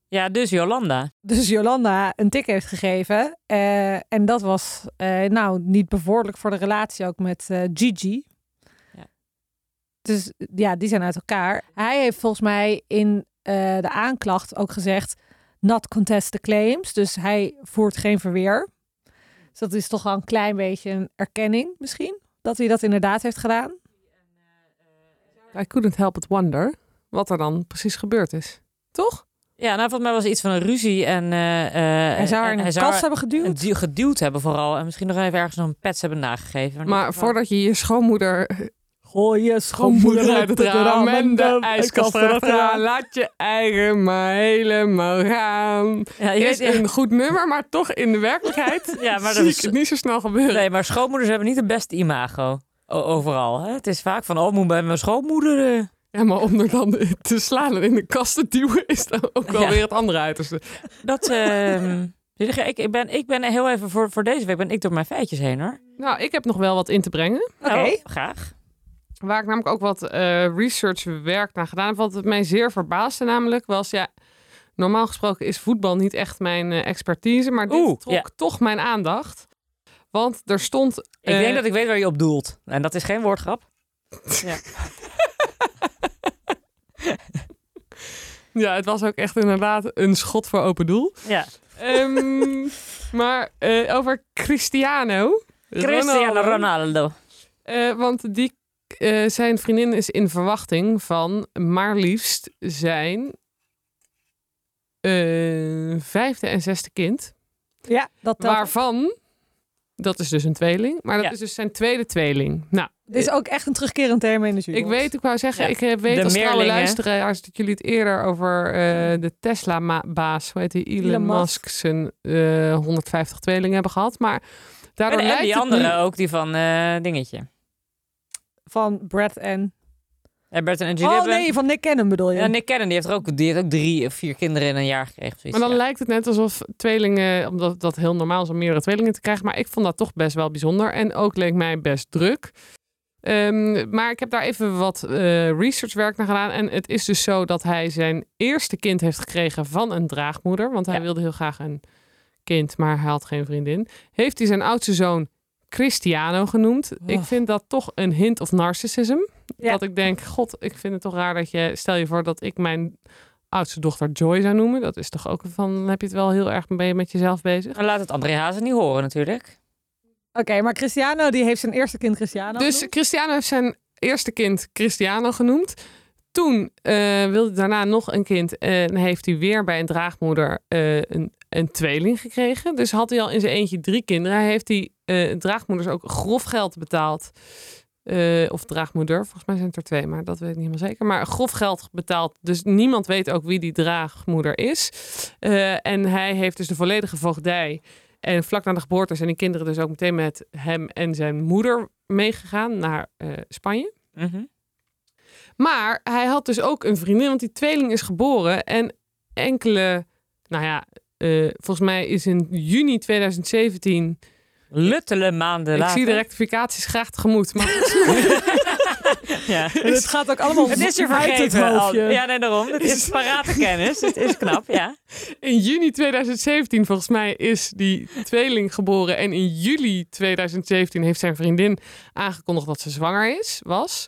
[SPEAKER 2] Ja, dus Jolanda.
[SPEAKER 1] Dus Jolanda een tik heeft gegeven. eh, en dat was eh, nou niet bevorderlijk voor de relatie ook met eh, Gigi.
[SPEAKER 2] Ja.
[SPEAKER 1] Dus ja, die zijn uit elkaar. Hij heeft volgens mij in eh, de aanklacht ook gezegd... not contest the claims. Dus hij voert geen verweer. Dus dat is toch wel een klein beetje een erkenning misschien... dat hij dat inderdaad heeft gedaan.
[SPEAKER 3] I couldn't help but wonder wat er dan precies gebeurd is. Toch?
[SPEAKER 2] Ja, nou, volgens mij was er iets van een ruzie en... eh, eh,
[SPEAKER 1] Hij zou haar
[SPEAKER 2] en
[SPEAKER 1] in
[SPEAKER 2] hij
[SPEAKER 1] een
[SPEAKER 2] zou
[SPEAKER 1] kast
[SPEAKER 2] haar
[SPEAKER 1] hebben geduwd.
[SPEAKER 2] een du- geduwd hebben vooral. En misschien nog even ergens nog een pets hebben nagegeven. in
[SPEAKER 3] Maar
[SPEAKER 2] ieder geval-
[SPEAKER 3] voordat je je schoonmoeder
[SPEAKER 1] Gooi je
[SPEAKER 3] Schoonmoeder uit het raam en de ijskast erachteraan. Laat je eigen maar helemaal gaan.
[SPEAKER 2] Ja, je
[SPEAKER 3] Is
[SPEAKER 2] weet,
[SPEAKER 3] een goed nummer, maar toch in de werkelijkheid
[SPEAKER 2] eh, ja, maar
[SPEAKER 3] zie
[SPEAKER 2] dat
[SPEAKER 3] ik
[SPEAKER 2] is,
[SPEAKER 3] het niet zo snel gebeuren.
[SPEAKER 2] Nee, maar schoonmoeders hebben niet het beste imago. O- overal. Hè? Het is vaak van, oh, moet bij mijn schoonmoeder. eh.
[SPEAKER 3] Ja, maar om er dan te slaan en in de kast te duwen is dan ook wel
[SPEAKER 2] Ja.
[SPEAKER 3] weer het andere uiterste.
[SPEAKER 2] Dat, ehm, ik, ik, ben, ik ben heel even voor, voor deze week ben ik door mijn feitjes heen hoor.
[SPEAKER 3] Nou, ik heb nog wel wat in te brengen.
[SPEAKER 1] Oké.
[SPEAKER 2] Nou, graag.
[SPEAKER 3] Waar ik namelijk ook wat eh researchwerk naar gedaan heb. Wat het mij zeer verbaasde namelijk was... Ja, normaal gesproken is voetbal niet echt mijn eh, expertise. Maar dit
[SPEAKER 2] Oeh,
[SPEAKER 3] trok
[SPEAKER 2] ja.
[SPEAKER 3] toch mijn aandacht. Want er stond...
[SPEAKER 2] Ik
[SPEAKER 3] eh,
[SPEAKER 2] denk dat ik weet waar je op doelt. En dat is geen woordgrap.
[SPEAKER 3] Ja, het was ook echt inderdaad een schot voor open doel.
[SPEAKER 2] Ja.
[SPEAKER 3] Ehm, maar eh, over Cristiano.
[SPEAKER 2] Cristiano Ronaldo.
[SPEAKER 3] Eh, want die, eh, zijn vriendin is in verwachting van maar liefst zijn eh, vijfde en zesde kind.
[SPEAKER 1] Ja, dat telt.
[SPEAKER 3] Waarvan, dat is dus een tweeling, maar dat
[SPEAKER 2] Ja.
[SPEAKER 3] is dus zijn tweede tweeling. Nou,
[SPEAKER 1] Dit is ook echt een terugkerend thema in de jury.
[SPEAKER 3] ik weet, ik wou zeggen,
[SPEAKER 2] Ja.
[SPEAKER 3] ik eh, weet
[SPEAKER 2] De
[SPEAKER 3] als trouwe
[SPEAKER 2] meerlingen.
[SPEAKER 3] luisteraars dat jullie het eerder over eh, de Tesla-baas, hoe heet die, Elon,
[SPEAKER 1] Elon Musk.
[SPEAKER 3] Musk, zijn eh, 150 tweelingen hebben gehad. Maar daardoor
[SPEAKER 2] En, en
[SPEAKER 3] lijkt
[SPEAKER 2] die
[SPEAKER 3] het
[SPEAKER 2] andere
[SPEAKER 3] nu-
[SPEAKER 2] ook, die van eh, dingetje.
[SPEAKER 1] Van Brad en...
[SPEAKER 2] En Bert en Julie
[SPEAKER 1] Oh
[SPEAKER 2] hebben...
[SPEAKER 1] nee, van Nick Cannon bedoel je?
[SPEAKER 2] Ja, Nick Cannon die heeft, er ook, die heeft ook drie of vier kinderen in een jaar gekregen. Precies,
[SPEAKER 3] Maar dan lijkt het net alsof tweelingen, omdat dat heel normaal is om meerdere tweelingen te krijgen. Maar ik vond dat toch best wel bijzonder. En ook leek mij best druk. Ehm, maar ik heb daar even wat eh, researchwerk naar gedaan. En het is dus zo dat hij zijn eerste kind heeft gekregen van een draagmoeder. Want hij
[SPEAKER 2] Ja.
[SPEAKER 3] wilde heel graag een kind, maar hij had geen vriendin. Heeft hij zijn oudste zoon Cristiano genoemd. Ik
[SPEAKER 2] Oh.
[SPEAKER 3] vind dat toch een hint of narcissism.
[SPEAKER 1] Ja.
[SPEAKER 3] Dat ik denk, god, ik vind het toch raar dat je... Stel je voor dat ik mijn oudste dochter Joy zou noemen. Dat is toch ook van, dan heb je het wel heel erg ben je met jezelf bezig.
[SPEAKER 2] Maar laat het André Hazen niet horen natuurlijk.
[SPEAKER 1] Oké, maar Cristiano die heeft zijn eerste kind Cristiano.
[SPEAKER 3] Dus
[SPEAKER 1] genoemd.
[SPEAKER 3] Cristiano heeft zijn eerste kind Cristiano genoemd. Toen eh, wilde hij daarna nog een kind en heeft hij weer bij een draagmoeder eh, een, een tweeling gekregen. Dus had hij al in zijn eentje drie kinderen. Hij heeft die eh, draagmoeders ook grof geld betaald. Eh, of draagmoeder, volgens mij zijn het er twee, maar dat weet ik niet helemaal zeker. Maar grof geld betaald, dus niemand weet ook wie die draagmoeder is. Eh, en hij heeft dus de volledige voogdij. En vlak na de geboorte zijn die kinderen dus ook meteen met hem en zijn moeder meegegaan naar eh, Spanje.
[SPEAKER 2] Mhm.
[SPEAKER 3] Maar hij had dus ook een vriendin, want die tweeling is geboren. En enkele, nou ja, eh, volgens mij is in juni 2017.
[SPEAKER 2] Luttele maanden
[SPEAKER 3] ik
[SPEAKER 2] later.
[SPEAKER 3] zie de rectificaties graag tegemoet. Maar
[SPEAKER 2] Ja.
[SPEAKER 1] En het gaat ook allemaal
[SPEAKER 2] Het is je
[SPEAKER 1] uit het
[SPEAKER 2] vergeten. al.
[SPEAKER 1] hoofdje. Nou,
[SPEAKER 2] Ja, nee, daarom. Het is parate kennis. Het is knap, ja.
[SPEAKER 3] in juni 2017, volgens mij, is die tweeling geboren. En in juli 2017 heeft zijn vriendin aangekondigd dat ze zwanger is, was.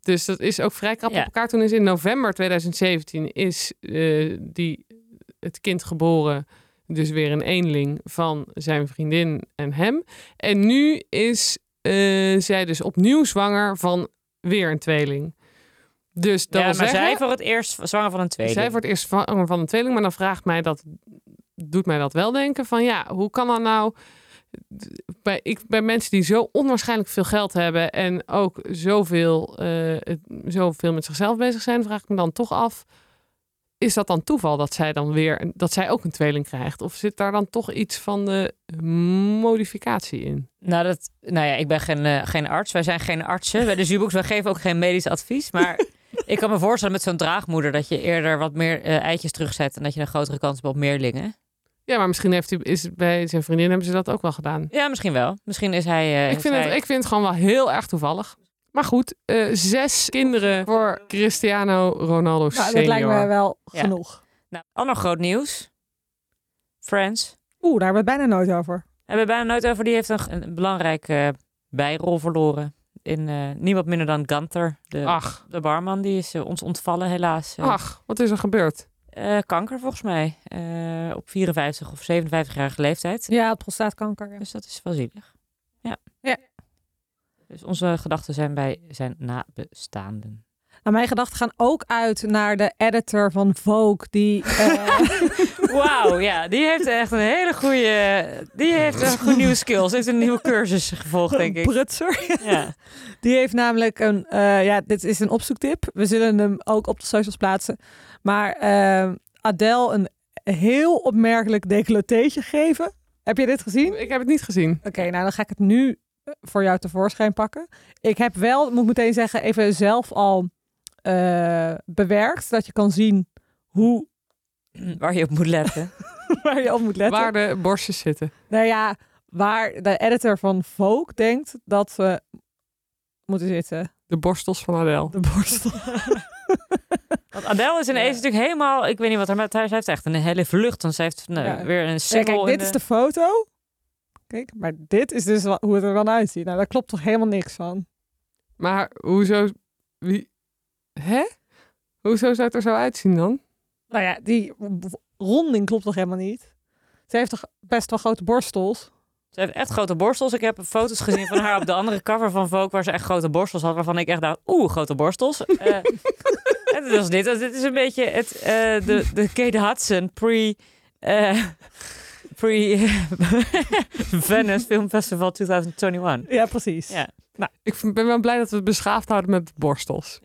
[SPEAKER 3] Dus dat is ook vrij krap
[SPEAKER 2] Ja.
[SPEAKER 3] op elkaar. Toen is in november 2017 is, eh, die, het kind geboren. Dus weer een eenling van zijn vriendin en hem. En nu is eh, zij dus opnieuw zwanger van weer een tweeling. Dus dat
[SPEAKER 2] ja maar
[SPEAKER 3] wil zeggen,
[SPEAKER 2] zij voor het eerst zwanger van een tweede.
[SPEAKER 3] zij wordt eerst zwanger van een tweeling, maar dan vraagt mij dat, doet mij dat wel denken van ja, hoe kan dat nou? Bij, ik, bij mensen die zo onwaarschijnlijk veel geld hebben en ook zoveel, eh, het- zoveel met zichzelf bezig zijn, vraag ik me dan toch af, is dat dan toeval dat zij dan weer, dat zij ook een tweeling krijgt? Of zit daar dan toch iets van de modificatie in?
[SPEAKER 2] Nou, dat, nou ja, ik ben geen, eh, geen arts. Wij zijn geen artsen. Bij de Zubox, wij geven ook geen medisch advies. Maar ik kan me voorstellen met zo'n draagmoeder... dat je eerder wat meer eh, eitjes terugzet... en dat je een grotere kans hebt op meerlingen.
[SPEAKER 3] Ja, maar misschien heeft hij, is, het bij zijn vriendin hebben ze dat ook wel gedaan.
[SPEAKER 2] Ja, misschien wel. Misschien is hij... eh,
[SPEAKER 3] Ik vind,
[SPEAKER 2] zij-
[SPEAKER 3] het, ik vind het gewoon wel heel erg toevallig. Maar goed, eh, zes kinderen voor Cristiano Ronaldo
[SPEAKER 1] Nou, dat
[SPEAKER 3] senior.
[SPEAKER 1] lijkt me wel
[SPEAKER 2] Ja.
[SPEAKER 1] genoeg.
[SPEAKER 2] Nou, ander groot nieuws. Friends.
[SPEAKER 1] Oeh, daar hebben we het bijna nooit over.
[SPEAKER 2] Hebben we bijna nooit over. Die heeft een, een belangrijke eh, bijrol verloren. In eh, niemand minder dan Gunther. De,
[SPEAKER 3] Ach,
[SPEAKER 2] de barman. Die is eh, ons ontvallen helaas. Eh,
[SPEAKER 3] ach, wat is er gebeurd?
[SPEAKER 2] eh, kanker volgens mij. Eh, op 54 of 57-jarige leeftijd.
[SPEAKER 1] Ja, prostaatkanker. Ja.
[SPEAKER 2] Dus dat is wel zielig. Ja.
[SPEAKER 1] Ja.
[SPEAKER 2] Dus onze gedachten zijn bij zijn nabestaanden.
[SPEAKER 1] Nou, mijn gedachten gaan ook uit naar de editor van Vogue. Die, eh,
[SPEAKER 2] Wauw, ja, die heeft echt een hele goede. Die heeft een goede nieuwe skills. Heeft een nieuwe cursus gevolgd, denk ik.
[SPEAKER 1] prutser.
[SPEAKER 2] Ja.
[SPEAKER 1] Die heeft namelijk een... eh, ja, dit is een opzoektip. We zullen hem ook op de socials plaatsen. Maar eh, Adele een heel opmerkelijk decolleteetje geven. Heb je dit gezien?
[SPEAKER 3] Ik heb het niet gezien.
[SPEAKER 1] Oké, nou dan ga ik het nu eh, voor jou tevoorschijn pakken. Ik heb wel, moet ik meteen zeggen, even zelf al eh, bewerkt. Dat je kan zien hoe
[SPEAKER 2] Waar je op moet letten.
[SPEAKER 1] waar je op moet letten.
[SPEAKER 3] Waar de borstjes zitten.
[SPEAKER 1] Nou ja, waar de editor van Vogue denkt dat ze moeten zitten.
[SPEAKER 3] De borstels van Adele.
[SPEAKER 1] De borstel.
[SPEAKER 2] Want Adele is ineens
[SPEAKER 1] Ja.
[SPEAKER 2] natuurlijk helemaal. Ik weet niet wat er met haar. Ze heeft echt een hele vlucht. Want ze heeft nou,
[SPEAKER 1] Ja.
[SPEAKER 2] weer een
[SPEAKER 1] Ja,
[SPEAKER 2] single.
[SPEAKER 1] kijk,
[SPEAKER 2] in
[SPEAKER 1] dit is de foto. Kijk, maar dit is dus wa- hoe het er dan uitziet. Nou, daar klopt toch helemaal niks van.
[SPEAKER 3] Maar hoezo... Wie... Hè? Hoezo zou het er zo uitzien dan?
[SPEAKER 1] Nou ja, die w- ronding klopt toch helemaal niet. Ze heeft toch best wel grote borstels.
[SPEAKER 2] Ze heeft echt grote borstels. Ik heb foto's gezien van haar op de andere cover van Vogue... waar ze echt grote borstels had, waarvan ik echt dacht... oeh, grote borstels. Eh, en dat was dit. Dus Dit is een beetje het, eh, de, de Kate Hudson pre... eh, pre... eh, Venice Film Festival 2021.
[SPEAKER 1] Ja, precies.
[SPEAKER 2] Ja.
[SPEAKER 3] Ik vind- ben wel blij dat we het beschaafd houden met borstels.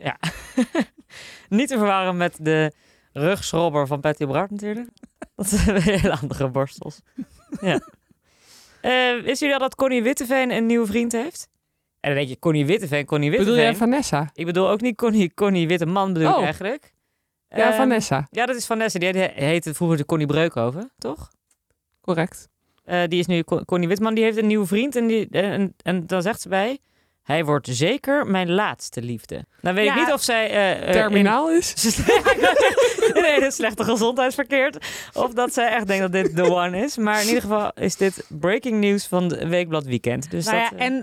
[SPEAKER 2] Niet te verwarren met de rugschrobber van Patty Bart natuurlijk. Dat zijn weer hele andere borstels. Ja. Eh wisten jullie al dat Connie Witteveen een nieuwe vriend heeft? En dan denk je, Connie Witteveen, Connie
[SPEAKER 3] Bedoel
[SPEAKER 2] Witteveen.
[SPEAKER 3] jij Vanessa?
[SPEAKER 2] Ik bedoel ook niet Connie, Connie Witteman bedoel
[SPEAKER 3] Oh.
[SPEAKER 2] ik eigenlijk.
[SPEAKER 3] Ja,
[SPEAKER 2] Ehm,
[SPEAKER 3] Vanessa.
[SPEAKER 2] Ja, dat is Vanessa. Die he- heette vroeger de Connie Breukhoven, toch?
[SPEAKER 3] Correct.
[SPEAKER 2] Eh, die is nu Con- Connie Witman. Die heeft een nieuwe vriend. En, die, eh, en, en dan zegt ze bij... Hij wordt zeker mijn laatste liefde. Nou weet
[SPEAKER 3] Ja,
[SPEAKER 2] ik niet of zij... eh, eh,
[SPEAKER 3] Terminaal is.
[SPEAKER 2] in- nee, dat Dus is slechte gezondheidsverkeerd. Of dat zij echt denkt dat dit de one is. Maar in ieder geval is dit breaking news van de Weekblad Weekend. Dus
[SPEAKER 1] nou
[SPEAKER 2] dat,
[SPEAKER 1] ja,
[SPEAKER 2] eh,
[SPEAKER 1] en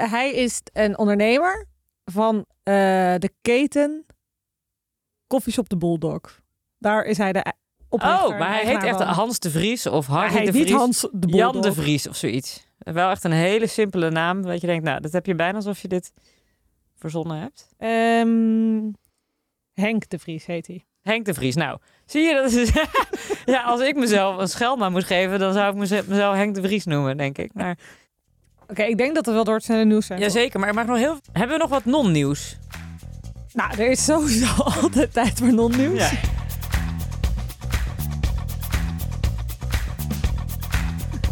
[SPEAKER 1] eh, hij is een ondernemer van eh, de keten Koffieshop de Bulldog. Daar is hij de e-, oprichter.
[SPEAKER 2] oh, maar hij heet echt Hans de Vries of
[SPEAKER 1] Maar
[SPEAKER 2] Harry
[SPEAKER 1] hij
[SPEAKER 2] de
[SPEAKER 1] heet
[SPEAKER 2] Vries.
[SPEAKER 1] niet Hans de Bulldog.
[SPEAKER 2] Jan de Vries of zoiets. Wel echt een hele simpele naam. Dat je denkt, nou, dat heb je bijna alsof je dit verzonnen hebt.
[SPEAKER 1] Ehm, Henk de Vries heet hij.
[SPEAKER 2] Henk de Vries. Nou, zie je, dat is... ja, als ik mezelf een schelma moest geven, dan zou ik meze- mezelf Henk de Vries noemen, denk ik. Maar...
[SPEAKER 1] Oké, ik denk dat er wel door het snelle nieuws zijn.
[SPEAKER 2] Jazeker, maar ik mag nog heel... Hebben we nog wat non-nieuws?
[SPEAKER 1] Nou, er is sowieso altijd tijd voor non-nieuws.
[SPEAKER 2] Ja.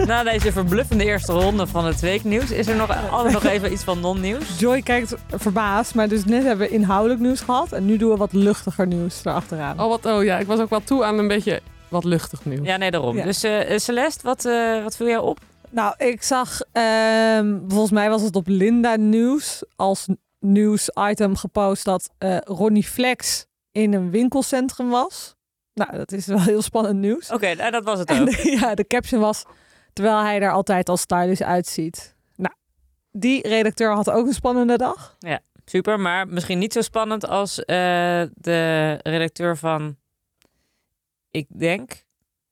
[SPEAKER 2] Na deze verbluffende eerste ronde van het weeknieuws is er nog altijd nog even iets van non-nieuws.
[SPEAKER 1] Joy kijkt verbaasd, maar dus net hebben we inhoudelijk nieuws gehad. En nu doen we wat luchtiger nieuws erachteraan.
[SPEAKER 3] Oh, wat, oh ja, ik was ook wel toe aan een beetje wat luchtig nieuws.
[SPEAKER 2] Ja, nee, daarom.
[SPEAKER 1] Ja.
[SPEAKER 2] Dus eh, eh, Celeste, wat, eh, wat viel jou op?
[SPEAKER 1] Nou, ik zag, ehm, volgens mij was het op Linda Nieuws als nieuwsitem gepost dat eh, Ronnie Flex in een winkelcentrum was. Nou, dat is wel heel spannend nieuws.
[SPEAKER 2] Oké, nou, dat was het
[SPEAKER 1] En
[SPEAKER 2] ook.
[SPEAKER 1] de, ja, de caption was, terwijl hij er altijd al stylish uitziet. Nou, die redacteur had ook een spannende dag.
[SPEAKER 2] Super, maar misschien niet zo spannend als eh, de redacteur van, ik denk,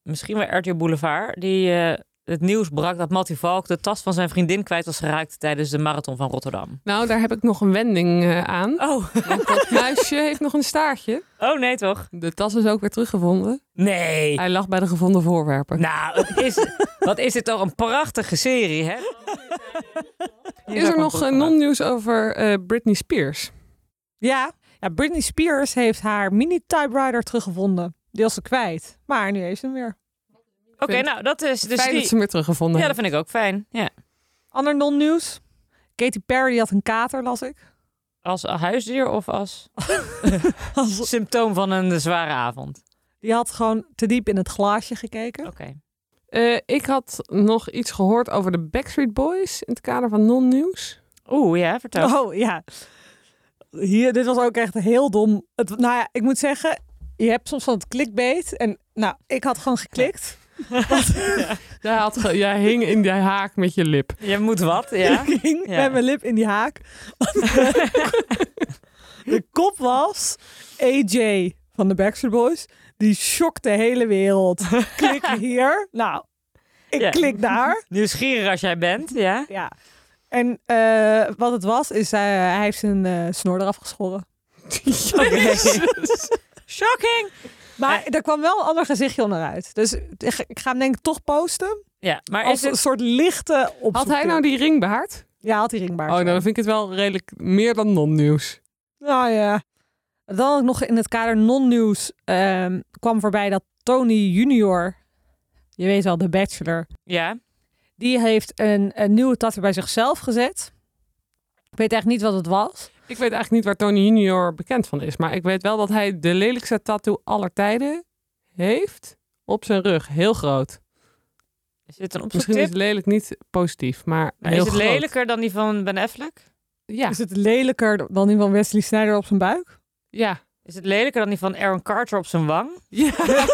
[SPEAKER 2] misschien wel RTL Boulevard, die eh, het nieuws brak dat Mattie Valk de tas van zijn vriendin kwijt was geraakt tijdens de marathon van Rotterdam.
[SPEAKER 3] Nou, daar heb ik nog een wending eh, aan.
[SPEAKER 2] Oh,
[SPEAKER 3] Want dat muisje heeft nog een staartje.
[SPEAKER 2] oh nee toch? Ah,
[SPEAKER 3] De tas is ook weer teruggevonden.
[SPEAKER 2] Nee.
[SPEAKER 3] Hij lag bij de gevonden voorwerpen.
[SPEAKER 2] Nou, het is, wat is dit toch een prachtige serie, hè? Hier
[SPEAKER 3] is
[SPEAKER 2] zou
[SPEAKER 3] er
[SPEAKER 2] ik
[SPEAKER 3] nog
[SPEAKER 2] wel
[SPEAKER 3] eh,
[SPEAKER 2] goed van
[SPEAKER 3] non-nieuws over eh, Britney Spears?
[SPEAKER 1] Ja. ja, Britney Spears heeft haar mini-typewriter teruggevonden. Die was ze kwijt, maar nu heeft ze hem weer.
[SPEAKER 2] uit. Oké, nou, dat is dus
[SPEAKER 3] Fijn dat
[SPEAKER 2] die...
[SPEAKER 3] ze hem weer teruggevonden
[SPEAKER 2] Ja, dat
[SPEAKER 3] hebben.
[SPEAKER 2] vind ik ook fijn. Ja.
[SPEAKER 1] Ander non-nieuws. Katy Perry had een kater, las ik.
[SPEAKER 2] Als huisdier of als symptoom van een zware avond?
[SPEAKER 1] Die had gewoon te diep in het glaasje gekeken.
[SPEAKER 2] Oké.
[SPEAKER 3] Eh, ik had nog iets gehoord over de Backstreet Boys in het kader van non-nieuws.
[SPEAKER 2] Oeh, ja, vertel.
[SPEAKER 1] Oh ja. Hier, dit was ook echt heel dom. Het, nou ja, ik moet zeggen, je hebt soms van het clickbait. En nou, ik had gewoon geklikt.
[SPEAKER 3] Jij, had ge- jij hing in die haak met je lip.
[SPEAKER 2] Je moet wat, ja.
[SPEAKER 1] Ik ging
[SPEAKER 2] Ja.
[SPEAKER 1] met mijn lip in die haak. de kop was AJ van de Backstreet Boys. Die shockte de hele wereld. Klik hier. Nou, ik
[SPEAKER 2] Ja.
[SPEAKER 1] klik daar.
[SPEAKER 2] Nieuwsgierig als jij bent, ja.
[SPEAKER 1] Ja. En eh, wat het was, is eh, hij heeft zijn eh, snor eraf geschoren.
[SPEAKER 2] Oh, Shocking!
[SPEAKER 1] Maar
[SPEAKER 2] Eh.
[SPEAKER 1] er kwam wel een ander gezichtje onderuit. Dus ik ik ga hem denk ik toch posten.
[SPEAKER 2] Ja, maar
[SPEAKER 1] Als
[SPEAKER 2] is
[SPEAKER 1] een
[SPEAKER 2] het...
[SPEAKER 1] soort lichte op.
[SPEAKER 3] Had hij nou die ring behaard?
[SPEAKER 1] Ja, had hij ringbaar.
[SPEAKER 3] Oh, nou, dan vind ik het wel redelijk meer dan non-nieuws.
[SPEAKER 1] Nou ja. Dan had ik nog in het kader non-nieuws ehm, kwam voorbij dat Tony Junior, je weet wel, de bachelor,
[SPEAKER 2] Ja,
[SPEAKER 1] die heeft een, een nieuwe tattoo bij zichzelf gezet. Ik weet echt niet wat het was.
[SPEAKER 3] Ik weet eigenlijk niet waar Tony Junior bekend van is. Maar ik weet wel dat hij de lelijkste tattoo aller tijden heeft op zijn rug. Heel groot.
[SPEAKER 2] is dit een
[SPEAKER 3] Misschien is
[SPEAKER 2] opzoektip?
[SPEAKER 3] lelijk niet positief, maar
[SPEAKER 2] Maar
[SPEAKER 3] heel
[SPEAKER 2] Is het
[SPEAKER 3] groot.
[SPEAKER 2] lelijker dan die van Ben Affleck?
[SPEAKER 3] Ja,
[SPEAKER 1] Is het lelijker dan die van Wesley Snyder op zijn buik?
[SPEAKER 3] ja.
[SPEAKER 2] Is het lelijker dan die van Aaron Carter op zijn wang?
[SPEAKER 3] ja.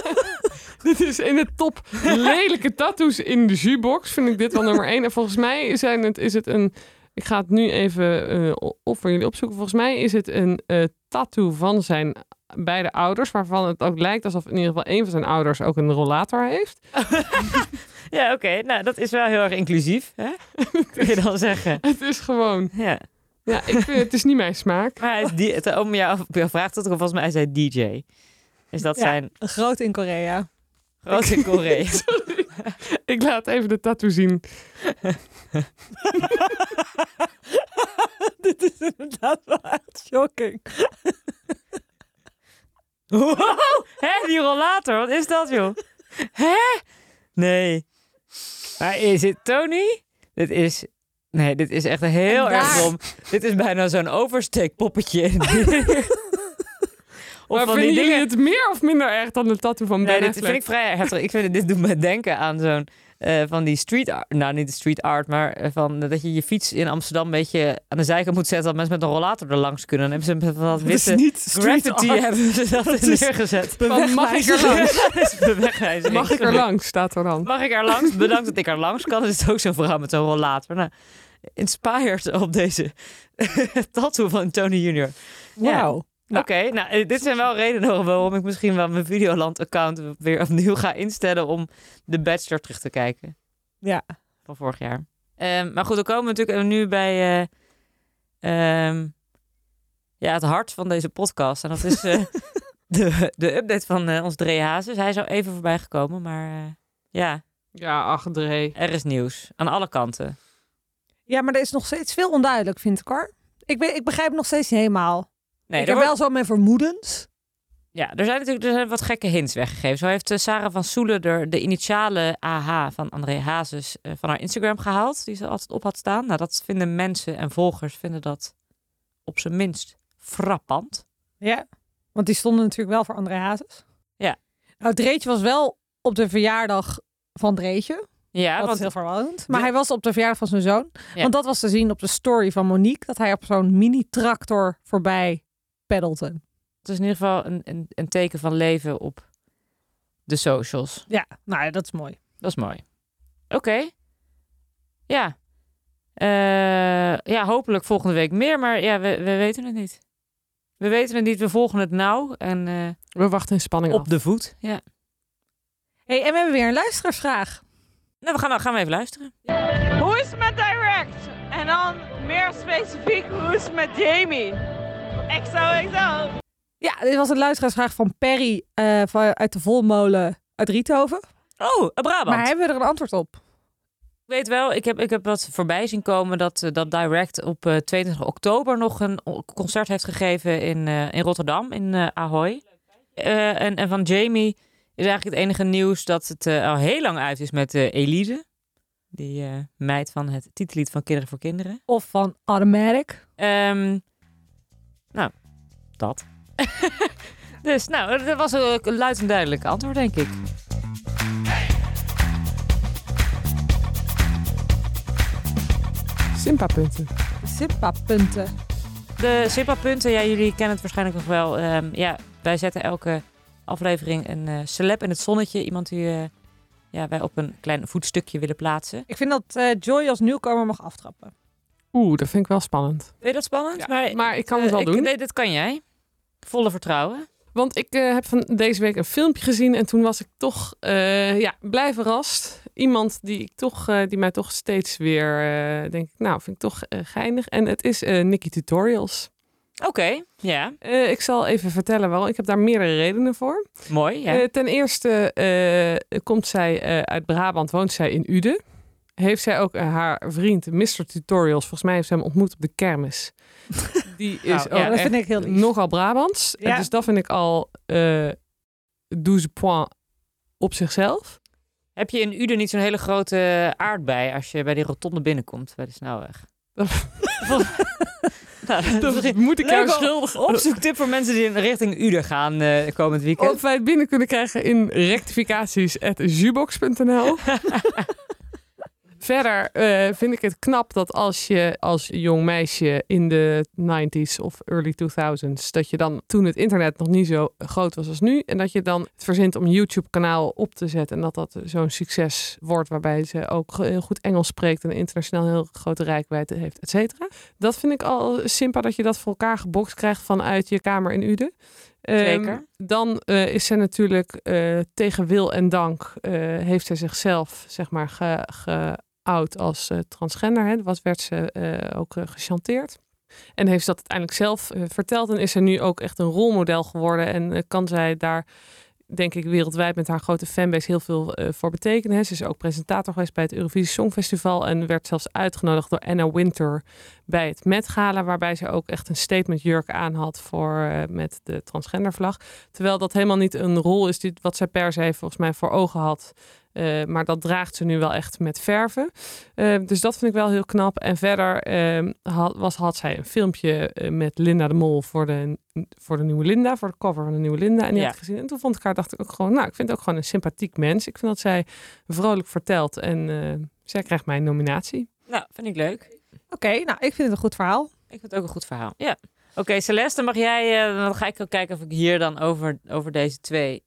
[SPEAKER 3] dit is in de top lelijke tattoos in de jukebox. Vind ik dit wel nummer één. En volgens mij zijn het, is het een... Ik ga het nu even eh, o- op voor jullie opzoeken. Volgens mij is het een eh, tattoo van zijn beide ouders. Waarvan het ook lijkt alsof in ieder geval één van zijn ouders ook een rollator heeft.
[SPEAKER 2] Ja, oké. Nou, dat is wel heel erg inclusief, hè? Kun je dan zeggen.
[SPEAKER 3] Het is gewoon.
[SPEAKER 2] Ja.
[SPEAKER 3] Ja, ik vind, het is niet mijn smaak.
[SPEAKER 2] Maar hij is di- het- om jou, op jouw vraag tot volgens mij is hij DJ. Is dat
[SPEAKER 1] Ja.
[SPEAKER 2] zijn
[SPEAKER 1] Groot in Korea.
[SPEAKER 2] groot in Korea?
[SPEAKER 3] Ik laat even de tattoo zien.
[SPEAKER 1] Dit is inderdaad wel echt shocking.
[SPEAKER 2] Wow! Hé, die rollator, wat is dat, joh? Hé? Nee. Maar is het Tony? Dit is Nee, dit is echt heel
[SPEAKER 1] En
[SPEAKER 2] erg
[SPEAKER 1] daar-
[SPEAKER 2] dom. dit is bijna zo'n oversteekpoppetje. of
[SPEAKER 3] maar
[SPEAKER 2] van die
[SPEAKER 3] vinden jullie
[SPEAKER 2] dingen.
[SPEAKER 3] het meer of minder erg dan de tattoo van
[SPEAKER 2] Nee,
[SPEAKER 3] Ben
[SPEAKER 2] dit vind
[SPEAKER 3] Affleck?
[SPEAKER 2] ik vrij heftig. Ik vind, het- dit doet me denken aan zo'n... eh, van die street art, nou niet de street art, maar eh, van dat je je fiets in Amsterdam een beetje aan de zijkant moet zetten, dat mensen met een rollator er langs kunnen. Dan hebben ze met van dat
[SPEAKER 4] Het is
[SPEAKER 2] witte
[SPEAKER 4] niet street
[SPEAKER 2] graffiti
[SPEAKER 4] art.
[SPEAKER 2] hebben ze dat,
[SPEAKER 4] is
[SPEAKER 2] neergezet.
[SPEAKER 3] Van, mag ik er langs?
[SPEAKER 2] Ja, dat is de wegwijzering.
[SPEAKER 3] Mag ik er langs, staat er dan.
[SPEAKER 2] Mag ik er langs? Bedankt dat ik er langs kan. Is het ook zo'n verhaal met zo'n rol later. Nou, inspired op deze tattoo van Tony Junior.
[SPEAKER 4] Wauw.
[SPEAKER 2] Oké, nou, eh, dit zijn wel redenen waarom ik misschien wel mijn Videoland-account weer opnieuw ga instellen om de Bachelor terug te kijken.
[SPEAKER 4] Ja.
[SPEAKER 2] Van vorig jaar. Ehm, maar goed, dan komen we natuurlijk nu bij eh, ehm, ja, het hart van deze podcast. En dat is eh, de, de update van eh, ons Dre Hazes. Hij is al even voorbij gekomen, maar eh, ja,
[SPEAKER 3] Ja, ach, Dree.
[SPEAKER 2] er is nieuws. Aan alle kanten.
[SPEAKER 1] Ja, maar er is nog steeds veel onduidelijk, vind ik hoor. Ik, be- ik begrijp nog steeds niet helemaal.
[SPEAKER 2] Nee,
[SPEAKER 1] ik
[SPEAKER 2] er,
[SPEAKER 1] heb
[SPEAKER 2] wordt-
[SPEAKER 1] wel zo mijn vermoedens.
[SPEAKER 2] ja, er zijn natuurlijk er zijn wat gekke hints weggegeven. Zo heeft eh, Sarah van Soelen er de initiale AH van André Hazes eh, van haar Instagram gehaald. Die ze altijd op had staan. Nou, dat vinden mensen en volgers vinden dat op zijn minst frappant.
[SPEAKER 1] Ja. Want die stonden natuurlijk wel voor André Hazes.
[SPEAKER 2] Ja.
[SPEAKER 1] Nou, Dreetje was wel op de verjaardag van Dreetje.
[SPEAKER 2] Ja,
[SPEAKER 1] dat
[SPEAKER 2] want
[SPEAKER 1] is heel verwarrend. Maar
[SPEAKER 2] Ja.
[SPEAKER 1] hij was op de verjaardag van zijn zoon.
[SPEAKER 2] Ja.
[SPEAKER 1] Want dat was te zien op de story van Monique. Dat hij op zo'n mini-tractor voorbij peddelde.
[SPEAKER 2] het is in ieder geval een, een, een teken van leven op de socials.
[SPEAKER 1] Ja, nou ja, dat is mooi.
[SPEAKER 2] Dat is mooi. Oké. Ja. Eh, ja, hopelijk volgende week meer, maar ja, we, we weten het niet. We weten het niet, we volgen het nauw en eh,
[SPEAKER 3] We wachten in spanning af.
[SPEAKER 2] op de voet. Ja.
[SPEAKER 1] hey, en we hebben weer een luisteraarsvraag.
[SPEAKER 2] Nou, we gaan, gaan we even luisteren.
[SPEAKER 5] Hoe is het met Direct? En dan meer specifiek, hoe is het met Jamie? XOXO.
[SPEAKER 1] Ja, dit was een luisteraarsvraag van Perry eh, van, uit de Volmolen uit Riethoven.
[SPEAKER 2] Oh, eh, Brabant.
[SPEAKER 1] Maar hebben we er een antwoord op?
[SPEAKER 2] Ik weet wel, ik heb, ik heb wat voorbij zien komen dat, eh, dat Direct op eh 22 oktober nog een o- concert heeft gegeven in, eh, in Rotterdam, in eh, Ahoy. Eh, en, en van Jamie is eigenlijk het enige nieuws dat het eh, al heel lang uit is met eh, Elise. Die eh, meid van het titellied van Kinderen voor Kinderen.
[SPEAKER 1] Of van Automatic?
[SPEAKER 2] Ehm, nou, dat. dus nou, dat was een een luid en duidelijk antwoord, denk ik.
[SPEAKER 3] Simpa-punten.
[SPEAKER 1] Simpa-punten.
[SPEAKER 2] De SIPA-punten, ja, jullie kennen het waarschijnlijk nog wel. Ehm, ja, wij zetten elke aflevering een eh celeb in het zonnetje. Iemand die eh, ja, wij op een klein voetstukje willen plaatsen.
[SPEAKER 1] Ik vind dat eh, Joy als nieuwkomer mag aftrappen.
[SPEAKER 3] Oeh, dat vind ik wel spannend.
[SPEAKER 2] Vind je dat spannend?
[SPEAKER 3] Ja, maar ik kan het
[SPEAKER 2] eh,
[SPEAKER 3] wel doen.
[SPEAKER 2] Nee, dat kan jij. Volle vertrouwen.
[SPEAKER 3] Want ik eh, heb van deze week een filmpje gezien en toen was ik toch eh, ja, blij verrast. Iemand die, ik toch, eh, die mij toch steeds weer, eh, denk ik, nou vind ik toch eh, geinig. En het is eh Nicky Tutorials.
[SPEAKER 2] Oké, ja.
[SPEAKER 3] Eh, ik zal even vertellen waarom. Ik heb daar meerdere redenen voor.
[SPEAKER 2] Mooi, ja.
[SPEAKER 3] Eh, ten eerste eh, komt zij eh, uit Brabant, woont zij in Uden. Heeft zij ook eh, haar vriend Mr. Tutorials, volgens mij heeft ze hem ontmoet op de kermis. Die is
[SPEAKER 2] Nou,
[SPEAKER 3] ook
[SPEAKER 2] ja,
[SPEAKER 1] dat
[SPEAKER 3] echt
[SPEAKER 1] vind ik heel lief.
[SPEAKER 3] nogal Brabants. Eh,
[SPEAKER 1] Ja.
[SPEAKER 3] Dus dat vind ik al eh 12 point op zichzelf.
[SPEAKER 2] Heb je in Uden niet zo'n hele grote aardbei als je bij die rotonde binnenkomt, bij de snelweg? nou,
[SPEAKER 3] Dat moet ik jou
[SPEAKER 2] Leuk
[SPEAKER 3] schulden.
[SPEAKER 2] op- opzoektip voor mensen die in richting Uden gaan eh, komend weekend.
[SPEAKER 3] Of wij het binnen kunnen krijgen in rectificaties.zubox.nl. Verder eh, vind ik het knap dat als je als jong meisje in de 90s of early 2000s, dat je dan toen het internet nog niet zo groot was als nu, en dat je dan het verzint om een YouTube-kanaal op te zetten en dat dat zo'n succes wordt waarbij ze ook heel goed Engels spreekt en internationaal heel grote rijkwijde heeft, et cetera. Dat vind ik al simpel dat je dat voor elkaar gebokst krijgt vanuit je kamer in Uden. Ehm,
[SPEAKER 2] Zeker.
[SPEAKER 3] dan eh, is zij natuurlijk eh, tegen wil en dank eh, heeft zij zichzelf zeg maar ge, geout als eh, transgender. Hè. Was, werd ze eh, ook eh, gechanteerd. En heeft ze dat uiteindelijk zelf eh, verteld. En is ze nu ook echt een rolmodel geworden. En eh, kan zij daar, denk ik, wereldwijd met haar grote fanbase heel veel eh, voor betekenen. hè. Ze is ook presentator geweest bij het Eurovisie Songfestival. En werd zelfs uitgenodigd door Anna Winter bij het Met Gala, waarbij ze ook echt een statement jurk aan had voor, eh, met de transgendervlag. Terwijl dat helemaal niet een rol is die, wat zij per se volgens mij voor ogen had. Eh, maar dat draagt ze nu wel echt met verven. Eh, dus dat vind ik wel heel knap. En verder eh, had, was, had zij een filmpje eh, met Linda de Mol voor de, voor de nieuwe Linda, voor de cover van de nieuwe Linda. En die
[SPEAKER 2] Ja.
[SPEAKER 3] had ik gezien. En toen vond ik haar, dacht ik ook gewoon, nou, ik vind het ook gewoon een sympathiek mens. Ik vind dat zij vrolijk vertelt. En eh, zij krijgt mijn nominatie.
[SPEAKER 2] Nou, vind ik leuk.
[SPEAKER 1] Oké, nou, ik vind het een goed verhaal.
[SPEAKER 2] Ik vind het ook een goed verhaal. Ja. Oké, Celeste, dan mag jij. eh, dan ga ik ook kijken of ik hier dan over, over deze twee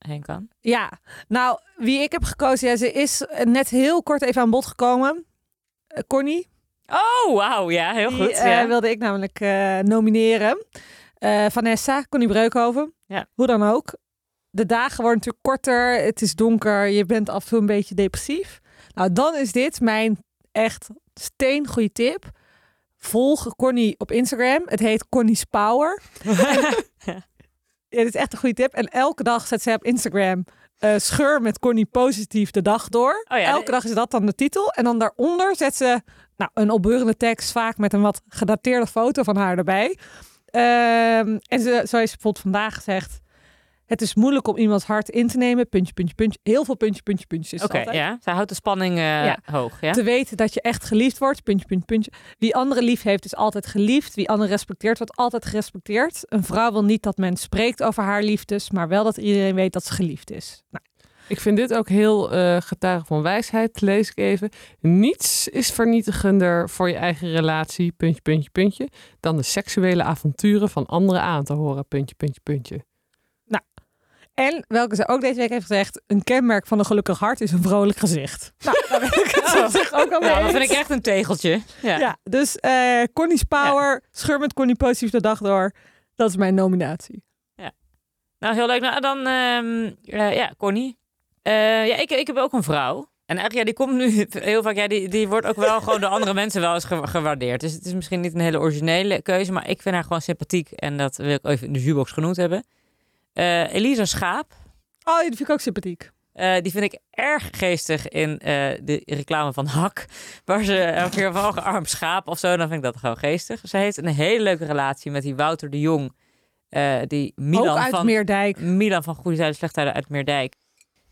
[SPEAKER 2] heen kan.
[SPEAKER 1] Ja, nou, wie ik heb gekozen, ja, ze is eh, net heel kort even aan bod gekomen. Eh, Connie,
[SPEAKER 2] Oh, wauw. Ja, heel
[SPEAKER 1] die
[SPEAKER 2] goed.
[SPEAKER 1] eh,
[SPEAKER 2] ja.
[SPEAKER 1] wilde ik namelijk eh, nomineren. Eh, Vanessa, Connie Breukhoven,
[SPEAKER 2] Ja.
[SPEAKER 1] hoe dan ook. De dagen worden natuurlijk korter, het is donker, je bent af en toe een beetje depressief. Nou, dan is dit mijn echt steengoede tip. Volg Connie op Instagram. Het heet Connie's Power. Ja, dit is echt een goede tip. En elke dag zet zij op Instagram eh, scheur met Connie positief de dag door.
[SPEAKER 2] Oh ja,
[SPEAKER 1] elke
[SPEAKER 2] dit-
[SPEAKER 1] dag is dat dan de titel. En dan daaronder zet ze nou, een opbeurende tekst, vaak met een wat gedateerde foto van haar erbij. Ehm, en ze, zo heeft ze bijvoorbeeld vandaag gezegd, het is moeilijk om iemands hart in te nemen. Puntje, puntje, puntje. Heel veel puntje, puntje, puntjes. is het
[SPEAKER 2] Oké,
[SPEAKER 1] altijd.
[SPEAKER 2] ja. Zij houdt de spanning eh,
[SPEAKER 1] Ja.
[SPEAKER 2] hoog. Ja.
[SPEAKER 1] Te weten dat je echt geliefd wordt. Puntje, puntje, puntje. Wie anderen lief heeft, is altijd geliefd. Wie anderen respecteert, wordt altijd gerespecteerd. Een vrouw wil niet dat men spreekt over haar liefdes, maar wel dat iedereen weet dat ze geliefd is. Nou,
[SPEAKER 3] Ik vind dit ook heel eh getuige van wijsheid, lees ik even. Niets is vernietigender voor je eigen relatie, puntje, puntje, puntje, dan de seksuele avonturen van anderen aan te horen, puntje, puntje, puntje.
[SPEAKER 1] En welke ze ook deze week heeft gezegd: een kenmerk van een gelukkig hart is een vrolijk gezicht. Nou, daar ben ik het op zich ook al mee.
[SPEAKER 2] Nou, dat
[SPEAKER 1] eens.
[SPEAKER 2] vind ik echt een tegeltje. Ja.
[SPEAKER 1] Ja, dus eh Connie's Power, scheur met Connie positief de dag door. Dat is mijn nominatie.
[SPEAKER 2] Nou, heel leuk. Nou, dan, ehm, eh, ja, Connie. Eh, ja, ik, ik heb ook een vrouw. En eigenlijk, ja, die komt nu heel vaak. Ja, die, die wordt ook wel gewoon door andere mensen wel eens ge- gewaardeerd. Dus het is misschien niet een hele originele keuze, maar ik vind haar gewoon sympathiek. En dat wil ik even in de jukebox genoemd hebben. Eh, Elisa Schaap.
[SPEAKER 1] Oh, die vind ik ook sympathiek.
[SPEAKER 2] Eh, die vind ik erg geestig in eh, de reclame van Hak. Waar ze elke keer van een arm schaap of zo. Dan vind ik dat gewoon geestig. Ze heeft een hele leuke relatie met die Wouter de Jong. eh, die Milan
[SPEAKER 1] ook uit
[SPEAKER 2] van
[SPEAKER 1] Meerdijk.
[SPEAKER 2] Milan van Goede Zijde, Slechtuiden uit Meerdijk.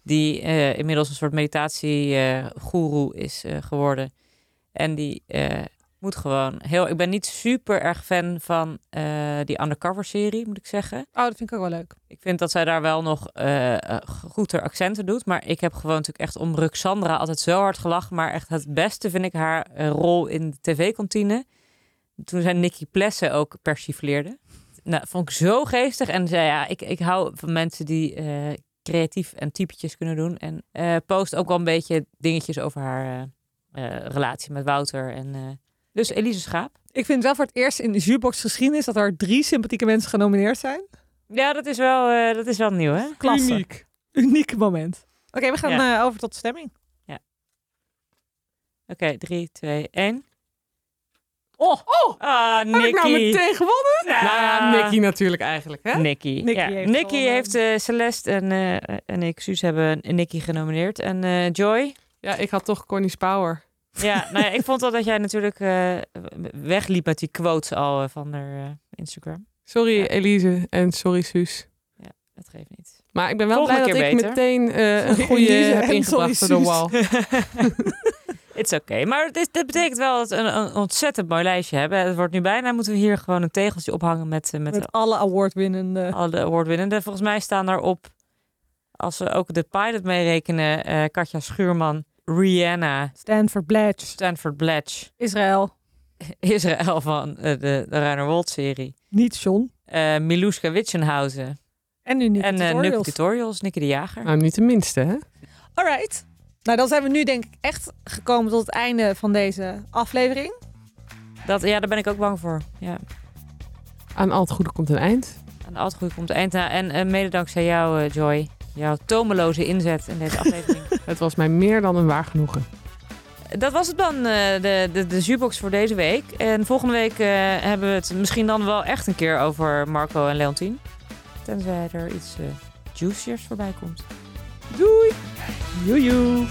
[SPEAKER 2] Die eh, inmiddels een soort meditatie-goeroe is eh, geworden. En die eh, moet gewoon heel. Ik ben niet super erg fan van eh, die undercover-serie, moet ik zeggen.
[SPEAKER 1] Oh, dat vind ik ook wel leuk.
[SPEAKER 2] Ik vind dat zij daar wel nog eh goed haar accenten doet. Maar ik heb gewoon natuurlijk echt om Ruxandra altijd zo hard gelachen. Maar echt het beste vind ik haar eh, rol in de tv-kantine. Toen zij Nicky Plessen ook persifleerde. Nou, vond ik zo geestig. En zei, ja, ik, ik hou van mensen die eh, creatief en typetjes kunnen doen. En eh, post ook wel een beetje dingetjes over haar eh, eh, relatie met Wouter. En, eh, dus Elise Schaap.
[SPEAKER 1] Ik vind het wel voor het eerst in de jukebox geschiedenis dat er drie sympathieke mensen genomineerd zijn.
[SPEAKER 2] Ja, dat is wel, eh, dat is wel nieuw, hè?
[SPEAKER 1] Klasse.
[SPEAKER 3] Uniek.
[SPEAKER 1] Uniek moment. Oké, we gaan
[SPEAKER 2] Ja.
[SPEAKER 1] eh, over tot stemming.
[SPEAKER 2] Oké, drie, twee, één.
[SPEAKER 1] Oh, oh
[SPEAKER 2] Ah,
[SPEAKER 1] heb ik nou
[SPEAKER 2] Nicky.
[SPEAKER 1] meteen gewonnen?
[SPEAKER 3] Nou ja, Nicky natuurlijk eigenlijk, hè?
[SPEAKER 2] Nicky.
[SPEAKER 1] Nicky
[SPEAKER 2] ja.
[SPEAKER 1] heeft
[SPEAKER 2] Nicky
[SPEAKER 1] gewonnen.
[SPEAKER 2] heeft eh, Celeste en, eh, en ik, Suus, hebben Nicky genomineerd. En eh, Joy?
[SPEAKER 3] Ja, ik had toch Connie's Power.
[SPEAKER 2] Ja, nou ja, ik vond al dat jij natuurlijk eh, wegliep met die quotes al eh, van haar eh, Instagram.
[SPEAKER 3] Sorry
[SPEAKER 2] Ja.
[SPEAKER 3] Elise en sorry Suus.
[SPEAKER 2] Dat geeft niet.
[SPEAKER 3] Maar ik ben wel
[SPEAKER 2] Volgende
[SPEAKER 3] blij dat
[SPEAKER 2] keer
[SPEAKER 3] ik
[SPEAKER 2] beter.
[SPEAKER 3] meteen eh,
[SPEAKER 1] Sorry,
[SPEAKER 3] een goede
[SPEAKER 1] Elise
[SPEAKER 3] heb
[SPEAKER 1] en
[SPEAKER 3] ingebracht
[SPEAKER 1] sorry,
[SPEAKER 3] door de
[SPEAKER 1] Suus.
[SPEAKER 3] wal.
[SPEAKER 2] It's oké. Maar het is- dit betekent wel dat we een, een ontzettend mooi lijstje hebben. Het wordt nu bijna, moeten we hier gewoon een tegeltje ophangen met, eh, met,
[SPEAKER 1] Met alle awardwinnende.
[SPEAKER 2] alle awardwinnenden. Volgens mij staan daarop, als we ook de pilot meerekenen, eh, Katja Schuurman, Rihanna,
[SPEAKER 1] Stanford Bledge,
[SPEAKER 2] Stanford Bledge,
[SPEAKER 1] Israël,
[SPEAKER 2] Israël van eh, de, de Rainer Wold-serie.
[SPEAKER 1] niet John.
[SPEAKER 2] eh Miluska Witchenhausen.
[SPEAKER 1] En nu niet.
[SPEAKER 2] en eh
[SPEAKER 1] tutorials.
[SPEAKER 2] Nukke Tutorials, Nicky de Jager.
[SPEAKER 3] Nou, niet de minste, hè?
[SPEAKER 1] Alright. Nou, dan zijn we nu denk ik echt gekomen tot het einde van deze aflevering.
[SPEAKER 2] Dat, ja, daar ben ik ook bang voor. Ja.
[SPEAKER 3] Aan al het goede komt een eind.
[SPEAKER 2] Aan de altijd goed komt eind na. En eh, mede dankzij jou, eh, Joy. Jouw tomeloze inzet in deze aflevering.
[SPEAKER 3] Het was mij meer dan een waar genoegen.
[SPEAKER 2] Dat was het dan, eh, de, de, de jukebox voor deze week. En volgende week eh, hebben we het misschien dan wel echt een keer over Marco en Leontien. Tenzij er iets eh juiciers voorbij komt.
[SPEAKER 1] Doei. Joejoe.